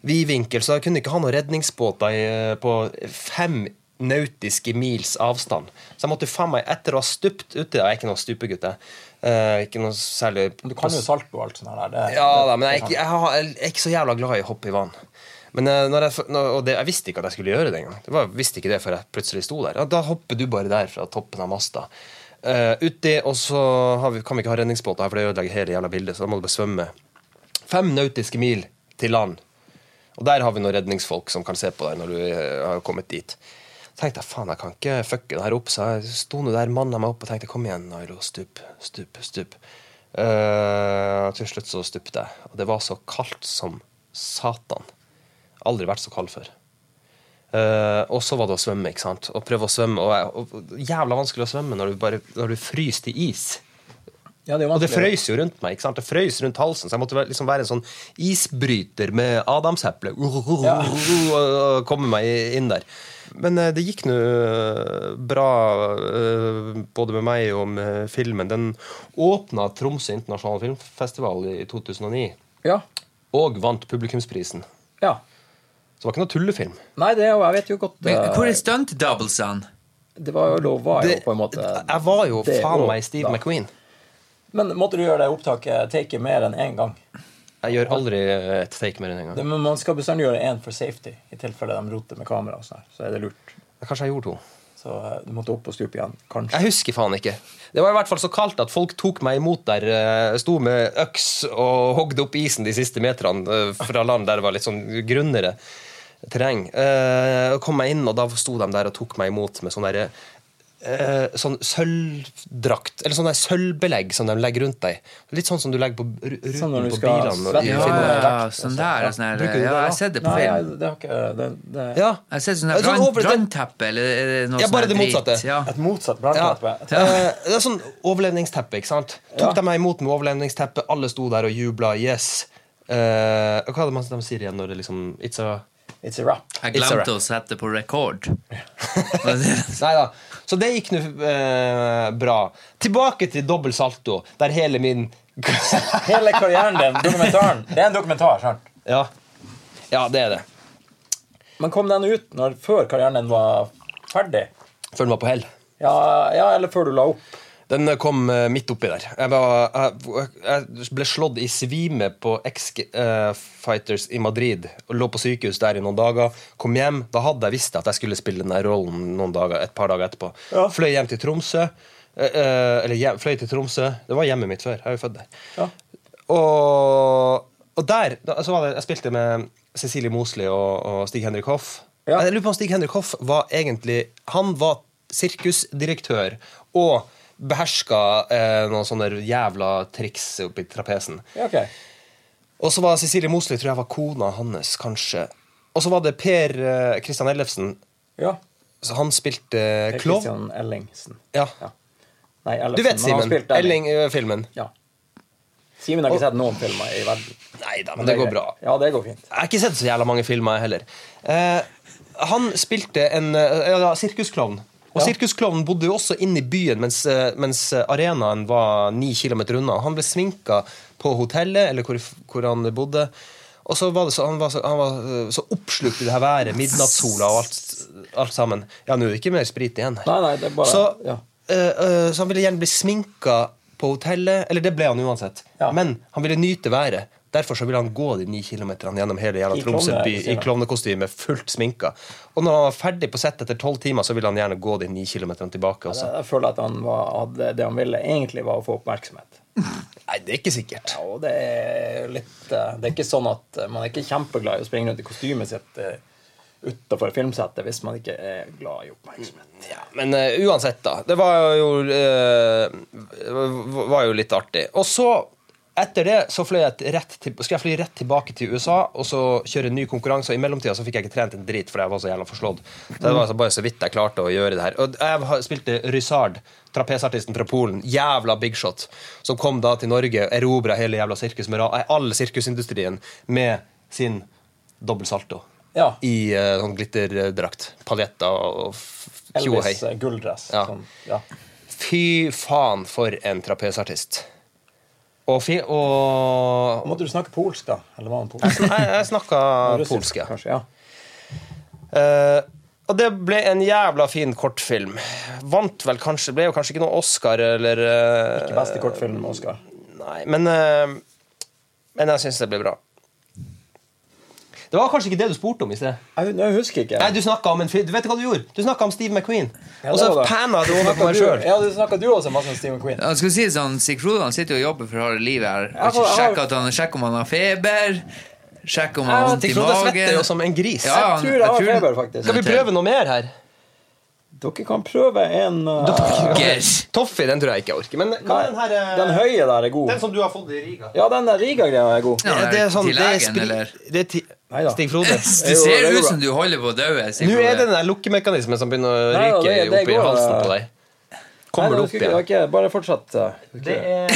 Speaker 3: Vidvinkel, så jeg kunne ikke ha noen redningsbåter i, eh, på fem nautiske mils avstand. Så jeg måtte jo faen meg etter å ha stupt uti Jeg er ikke noen stupegutt, jeg. Eh, ikke noe særlig
Speaker 5: Du kan jo salto og alt sånt der. Det,
Speaker 3: ja da, men jeg, er ikke- jeg, har- jeg er ikke så jævla glad i å hoppe i vann. Men eh, når jeg, f- når, og det, jeg visste ikke at jeg skulle gjøre det engang. Jeg visste ikke det før jeg plutselig sto der. Ja, da hopper du bare der fra toppen av masta. Eh, uti, og så har vi, kan vi ikke ha redningsbåter her, for det ødelegger hele jævla bildet. Så da må du bare svømme fem nautiske mil til land. Og der har vi noen redningsfolk som kan se på deg når du eh, har kommet dit. Så tenkte jeg faen, jeg kan ikke fucke det her opp, så jeg sto nå der, manna meg opp og tenkte kom igjen, Nailo, stup, stup, stup. Eh, til slutt så stupte jeg, og det var så kaldt som satan. Aldri vært så kald før. Eh, og så var det å svømme, ikke sant. Og prøve å svømme. Og, jeg- og, og jævla vanskelig å svømme når du, bare, når du fryser til is.
Speaker 5: Ja, det er jo
Speaker 3: Og det
Speaker 5: vanskelig.
Speaker 3: frøys jo rundt meg. ikke sant? Det frøys rundt halsen, så jeg måtte være- liksom være en sånn isbryter med adamseple.
Speaker 5: Ja.
Speaker 3: Og komme meg inn der. Men eh, det gikk nå eh, bra, eh, både med meg og med filmen. Den åpna Tromsø internasjonale filmfestival i 2009,
Speaker 5: Ja.
Speaker 3: og vant publikumsprisen.
Speaker 5: ja.
Speaker 3: Så det var ikke noe tullefilm.
Speaker 5: Nei, det er jo Jeg vet jo godt
Speaker 1: Men,
Speaker 5: eh,
Speaker 1: hvor er stunt-doublesene?
Speaker 5: Det var jo lova jo, på en måte.
Speaker 3: jeg var jo
Speaker 5: det
Speaker 3: faen
Speaker 5: og
Speaker 3: meg Steve
Speaker 5: da.
Speaker 3: McQueen.
Speaker 5: Men måtte du gjøre det opptaket taket mer enn én gang?
Speaker 3: Jeg gjør aldri et take mer enn en
Speaker 5: Det,
Speaker 3: gang.
Speaker 5: men man skal bestandig gjøre én for safety, i tilfelle de roter med kamera. og sånn her, Så er det lurt.
Speaker 3: Kanskje jeg gjorde to.
Speaker 5: Så eh, du måtte opp og stupe igjen, kanskje.
Speaker 3: Jeg husker faen ikke. Det var i hvert fall så kaldt at folk tok meg imot der. eh, Sto med øks og hogde opp isen de siste meterne eh, fra land der det var litt sånn grunnere terreng. Eh, Kom meg inn, og da sto de der og tok meg imot med sånn derre eh, Sånn sølvdrakt, eller sånn der sølvbelegg som de legger rundt deg. Litt sånn som du legger på r- ruten
Speaker 5: Sånn når du
Speaker 3: på
Speaker 5: skal
Speaker 3: bilene. og-
Speaker 5: svette.
Speaker 3: i
Speaker 1: Ja,
Speaker 3: filmer.
Speaker 1: ja, ja,
Speaker 5: Vekt,
Speaker 1: sånn
Speaker 5: altså.
Speaker 1: der.
Speaker 5: Ja.
Speaker 1: og Sånn der.
Speaker 3: Bruker du det,
Speaker 1: Ja, jeg
Speaker 3: da?
Speaker 1: har sett det på
Speaker 5: Nei, jeg,
Speaker 1: film.
Speaker 5: det har ikke eh, det, det,
Speaker 3: Ja.
Speaker 1: Jeg har sett sånn
Speaker 3: Sånn
Speaker 1: brann-
Speaker 3: over-
Speaker 1: brannteppe eller er det noe
Speaker 3: Ja,
Speaker 1: sånn
Speaker 3: bare
Speaker 1: her
Speaker 3: det
Speaker 1: drit?
Speaker 3: motsatte.
Speaker 1: Ja.
Speaker 5: Et motsatt
Speaker 3: Ja.
Speaker 5: brannteppe.
Speaker 3: Eh, det er sånn overlevningsteppe, ikke sant? Tok
Speaker 5: Ja.
Speaker 3: de meg imot med overlevningsteppe, alle sto der og jubla, yes. Eh, og hva er det man- de sier igjen når det liksom It's a
Speaker 5: It's a wrap.
Speaker 1: Jeg
Speaker 3: It's a wrap.
Speaker 1: glemte å sette på record. Hva
Speaker 3: Nei da. Så det gikk nå eh, bra. Tilbake til dobbel salto, der hele min
Speaker 5: Hele karrieren din, dokumentaren. Det er en dokumentar, sant?
Speaker 3: Ja. Ja, det er det.
Speaker 5: Men kom den ut når, før karrieren din var ferdig?
Speaker 3: Før den var på hell.
Speaker 5: Ja, ja, eller før du la opp?
Speaker 3: Den kom eh, midt oppi der. Jeg, var, jeg, jeg ble slått i svime på X eh, Fighters i Madrid. Og Lå på sykehus der i noen dager. Kom hjem. Da hadde jeg visst at jeg skulle spille den der rollen noen dager, et par dager etterpå.
Speaker 5: Ja.
Speaker 3: Fløy hjem til Tromsø. eh, eh, eller hjem, fløy til Tromsø. Det var hjemmet mitt før. Jeg er jo født der.
Speaker 5: Ja.
Speaker 3: Og, og der da, så var det, Jeg spilte med Cecilie Mosli og, og Stig-Henrik Hoff.
Speaker 5: Ja.
Speaker 3: Jeg lurer på om Stig-Henrik Hoff var egentlig Han var sirkusdirektør og beherska eh, noen sånne jævla triks oppi trapesen.
Speaker 5: Ja, ok.
Speaker 3: Og så var Cecilie Mosli tror jeg var kona hans, kanskje. Og så var det Per eh, Christian Ellefsen.
Speaker 5: Ja.
Speaker 3: Så han spilte eh,
Speaker 5: Det er
Speaker 3: klovn.
Speaker 5: Christian Ellingsen.
Speaker 3: Ja.
Speaker 5: Ja. Nei, Ellefsen.
Speaker 3: Du
Speaker 5: men
Speaker 3: vet,
Speaker 5: han
Speaker 3: Simen. eh,
Speaker 5: spilte Elling.
Speaker 3: Elling-filmen.
Speaker 5: Ja. Simen har ikke sett noen filmer i verden.
Speaker 3: Nei da, men det går bra.
Speaker 5: Ja, det går fint.
Speaker 3: Jeg har ikke sett så jævla mange filmer, jeg heller. Eh, han spilte en eh, ja, sirkusklovn. Og
Speaker 5: Ja.
Speaker 3: sirkusklovnen bodde jo også inne i byen mens, eh, mens arenaen var ni kilometer unna. Han ble sminka på hotellet, eller hvor, hvor han bodde. Og så var det så, han var så, han var eh, så oppslukt i det her været, midnattssola og alt, alt sammen. Ja, nå er det ikke mer sprit igjen her.
Speaker 5: Nei, nei, det er bare
Speaker 3: Så,
Speaker 5: ja.
Speaker 3: eh, eh, så han ville gjerne bli sminka på hotellet. Eller det ble han uansett.
Speaker 5: Ja.
Speaker 3: Men han ville nyte været. Derfor så ville han gå de ni kilometerne gjennom hele jævla
Speaker 5: I
Speaker 3: Tromsø
Speaker 5: klovne-
Speaker 3: by i klovnekostyme, fullt sminka. Og når han var ferdig på sett etter tolv timer, så ville han gjerne gå de ni kilometerne tilbake. Også.
Speaker 5: Jeg føler at han var, hadde, det han ville egentlig var å få oppmerksomhet.
Speaker 3: Nei, det er ikke sikkert.
Speaker 5: Ja, og det er litt eh, Det er ikke sånn at eh, man er ikke kjempeglad i å springe rundt i kostymet sitt eh, utenfor filmsettet hvis man ikke er glad i oppmerksomhet.
Speaker 3: Ja, men eh, uansett, da. Det var jo, eh, v- var jo litt artig. Og så, etter det, så fløy jeg til- rett, til, skulle jeg fly rett tilbake til USA og så kjøre en ny konkurranse. Og I mellomtida så fikk jeg ikke trent en drit, for jeg var så jævla forslått. Så det var altså bare så vidt jeg klarte å gjøre det her. Og jeg har- spilte Ryzard, trapesartisten fra Polen, jævla big shot, som kom da til Norge, erobra hele jævla sirkus med ra- eh, all sirkusindustrien med sin dobbel salto
Speaker 5: Ja.
Speaker 3: i eh, sånn glitterdrakt. Paljetter og f- Tjo og hei.
Speaker 5: Elvis eh, gulldress.
Speaker 3: Ja.
Speaker 5: Sånn, ja.
Speaker 3: Fy faen, for en trapesartist. Og, fi, og
Speaker 5: Måtte du snakke polsk, da? Eller var han polsk?
Speaker 3: Nei, jeg snakka
Speaker 5: Russisk,
Speaker 3: polsk, ja.
Speaker 5: Kanskje, ja.
Speaker 3: Eh, og det ble en jævla fin kortfilm. Vant vel kanskje Ble jo kanskje ikke noe Oscar, eller eh,
Speaker 5: Ikke beste kortfilm, Oscar.
Speaker 3: Nei, men eh, Men jeg syns det ble bra. Det var kanskje ikke det du spurte om i sted?
Speaker 5: Jeg, jeg husker ikke.
Speaker 3: Nei, du snakka om en fyr Du vet hva du gjorde? Du snakka om Steve McQueen.
Speaker 5: Ja,
Speaker 3: og
Speaker 5: det
Speaker 3: så
Speaker 5: var det.
Speaker 3: panna du over
Speaker 5: Snakket
Speaker 3: på meg
Speaker 5: du-
Speaker 3: sjøl.
Speaker 5: Ja, du snakka du også masse om Steve McQueen.
Speaker 1: Ja, skal vi si det sånn, Sig Frodan sitter jo og jobber for harde livet her.
Speaker 5: Ja,
Speaker 1: Og
Speaker 5: for- jeg
Speaker 1: ikke
Speaker 5: har-
Speaker 1: sjekker, at han, sjekker om han har feber, sjekker om han har
Speaker 3: Ja,
Speaker 1: vondt i
Speaker 3: Frode svetter jo
Speaker 1: magen.
Speaker 3: som en gris.
Speaker 1: Ja,
Speaker 5: Jeg
Speaker 1: han-
Speaker 5: tror jeg har
Speaker 1: tror-
Speaker 5: feber, faktisk.
Speaker 3: Skal vi prøve noe mer her?
Speaker 5: Dere kan prøve en uh,
Speaker 1: Gers.
Speaker 3: Toffee, den tror jeg ikke jeg orker. Men
Speaker 5: Nei,
Speaker 3: hva er den her eh,
Speaker 5: Den høye der er god.
Speaker 3: som du har fått i Riga?
Speaker 5: Ja, den der Riga-greia er god.
Speaker 1: Ja,
Speaker 3: det er sånn,
Speaker 1: til
Speaker 3: det er
Speaker 1: legen,
Speaker 3: spri-
Speaker 1: eller?
Speaker 3: Det er ti...
Speaker 5: Neida.
Speaker 3: Stig Frode.
Speaker 1: Du
Speaker 3: Eh,
Speaker 1: ser
Speaker 5: det er
Speaker 1: ut
Speaker 5: bra.
Speaker 1: som du holder på å dø. Sig
Speaker 3: Nå er
Speaker 1: Frode.
Speaker 3: det den der lukkemekanismen som begynner å
Speaker 5: Nei,
Speaker 3: ryke
Speaker 5: det- det
Speaker 3: opp i
Speaker 5: går,
Speaker 3: halsen
Speaker 5: eh,
Speaker 3: på deg. Kommer
Speaker 5: Nei,
Speaker 3: du
Speaker 5: da
Speaker 3: opp
Speaker 5: husker jeg
Speaker 3: igjen?
Speaker 5: ikke. Bare fortsett. uh,
Speaker 3: Det er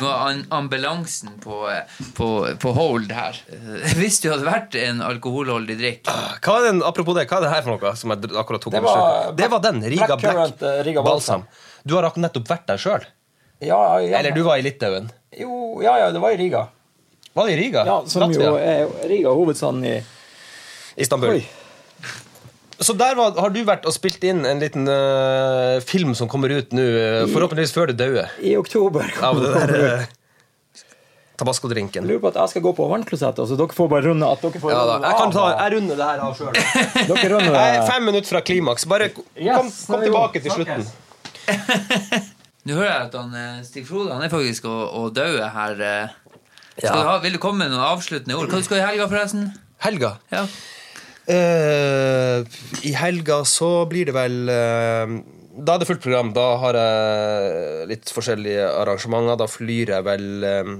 Speaker 1: Nå er an ambulansen på, på, på hold her. Hvis du hadde vært en alkoholholdig drikk
Speaker 3: Ah, Hva er den, Apropos det, hva er det her for noe som jeg dr- akkurat tok
Speaker 5: Det
Speaker 3: over
Speaker 5: var-
Speaker 3: sjøl? Det var den. Riga Black,
Speaker 5: Blackcurrant, eh, Riga
Speaker 3: Balsam. Du har ak- nettopp vært der sjøl.
Speaker 5: Ja, ja,
Speaker 3: Eller du var i Litauen.
Speaker 5: Jo, ja, ja, det var i Riga.
Speaker 3: Var det i Riga?
Speaker 5: Ja, som jo
Speaker 3: Latvia?
Speaker 5: er Riga er hovedstaden i
Speaker 3: Istanbul.
Speaker 5: Oi.
Speaker 3: Så der var, har du vært og spilt inn en liten eh, film som kommer ut nå, eh, forhåpentligvis før du dauer,
Speaker 5: I oktober.
Speaker 3: av
Speaker 5: kommer
Speaker 3: det
Speaker 5: det.
Speaker 3: der eh, tabascodrinken.
Speaker 5: Jeg lurer på at jeg skal gå på vannklosettet, så dere får bare runde at dere får
Speaker 3: Ja da.
Speaker 5: runde
Speaker 3: Jeg kan ta,
Speaker 5: av.
Speaker 3: jeg runder det her av sjøl.
Speaker 5: Dere runder
Speaker 3: Jeg er fem minutter fra klimaks. Bare kom,
Speaker 5: Yes, nå
Speaker 3: kom,
Speaker 5: er vi
Speaker 3: tilbake
Speaker 5: god.
Speaker 3: til slutten.
Speaker 1: Nå hører jeg at han, eh, Stig Frode han er faktisk å, å dø her. eh. Skal
Speaker 3: Ja.
Speaker 1: du ha, vil du komme med noen avsluttende ord? Hva du skal du i helga, forresten?
Speaker 3: Helga.
Speaker 1: Ja.
Speaker 3: Eh, I helga så blir det vel eh, Da er det fullt program. Da har jeg litt forskjellige arrangementer. Da flyr jeg vel eh,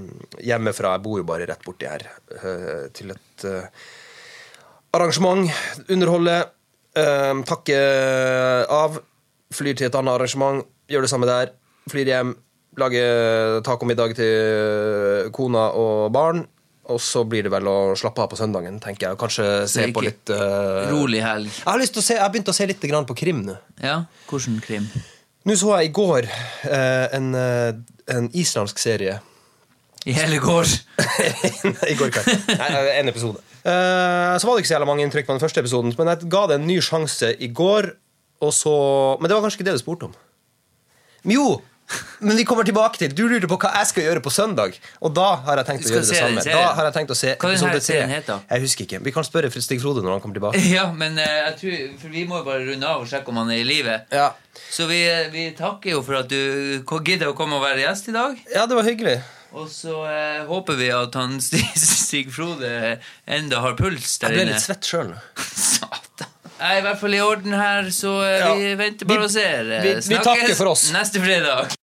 Speaker 3: hjemmefra. Jeg bor jo bare rett borti her. eh, til et eh, arrangement. Underholde. eh, takke av. Flyr til et annet arrangement. Gjør det samme der. Flyr hjem. Lager tacomiddag til eh, kona og barn. Og så blir det vel å slappe av på søndagen, tenker jeg. og Kanskje se
Speaker 1: Det er
Speaker 3: på
Speaker 1: ikke-
Speaker 3: litt eh,
Speaker 1: Rolig helg.
Speaker 3: Jeg har lyst til å se, jeg har begynt å se litt grann på krim nå.
Speaker 1: Ja, hvordan krim?
Speaker 3: Nå så jeg i går eh, en, eh, en islandsk serie.
Speaker 1: I hele går.
Speaker 3: Nei, I går kveld. Nei, eh, en episode. Eh, så var det ikke så jævla mange inntrykk på den første episoden, men jeg ga det en ny sjanse i går, og så Men det var kanskje ikke det du spurte om? Men jo! Men vi kommer tilbake til Du lurte på hva jeg skal gjøre på søndag. Og da har jeg tenkt
Speaker 1: Du
Speaker 3: å
Speaker 1: skal
Speaker 3: gjøre
Speaker 1: se
Speaker 3: det
Speaker 1: den
Speaker 3: samme.
Speaker 1: serien.
Speaker 3: Da har jeg tenkt å se
Speaker 1: Hva er den her
Speaker 3: episode tre.
Speaker 1: serien heter?
Speaker 3: Jeg husker ikke. Vi kan spørre Fritz Stig Frode når han kommer tilbake.
Speaker 1: Ja, men eh, jeg tror, for vi må jo bare runde av og sjekke om han er i live.
Speaker 3: Ja,
Speaker 1: Så vi, eh, vi takker jo for at du ko- gidder å komme og være gjest i dag.
Speaker 3: ja det var hyggelig.
Speaker 1: Og så eh, håper vi at han Stig, Stig Frode enda har puls der
Speaker 3: Jeg ble
Speaker 1: inne.
Speaker 3: litt svett sjøl nå.
Speaker 1: Satan. Jeg er i hvert fall i orden her, så eh,
Speaker 3: Ja.
Speaker 1: vi venter bare
Speaker 3: Vi-
Speaker 1: og ser. Eh,
Speaker 3: vi- vi takker for oss.
Speaker 1: neste fredag.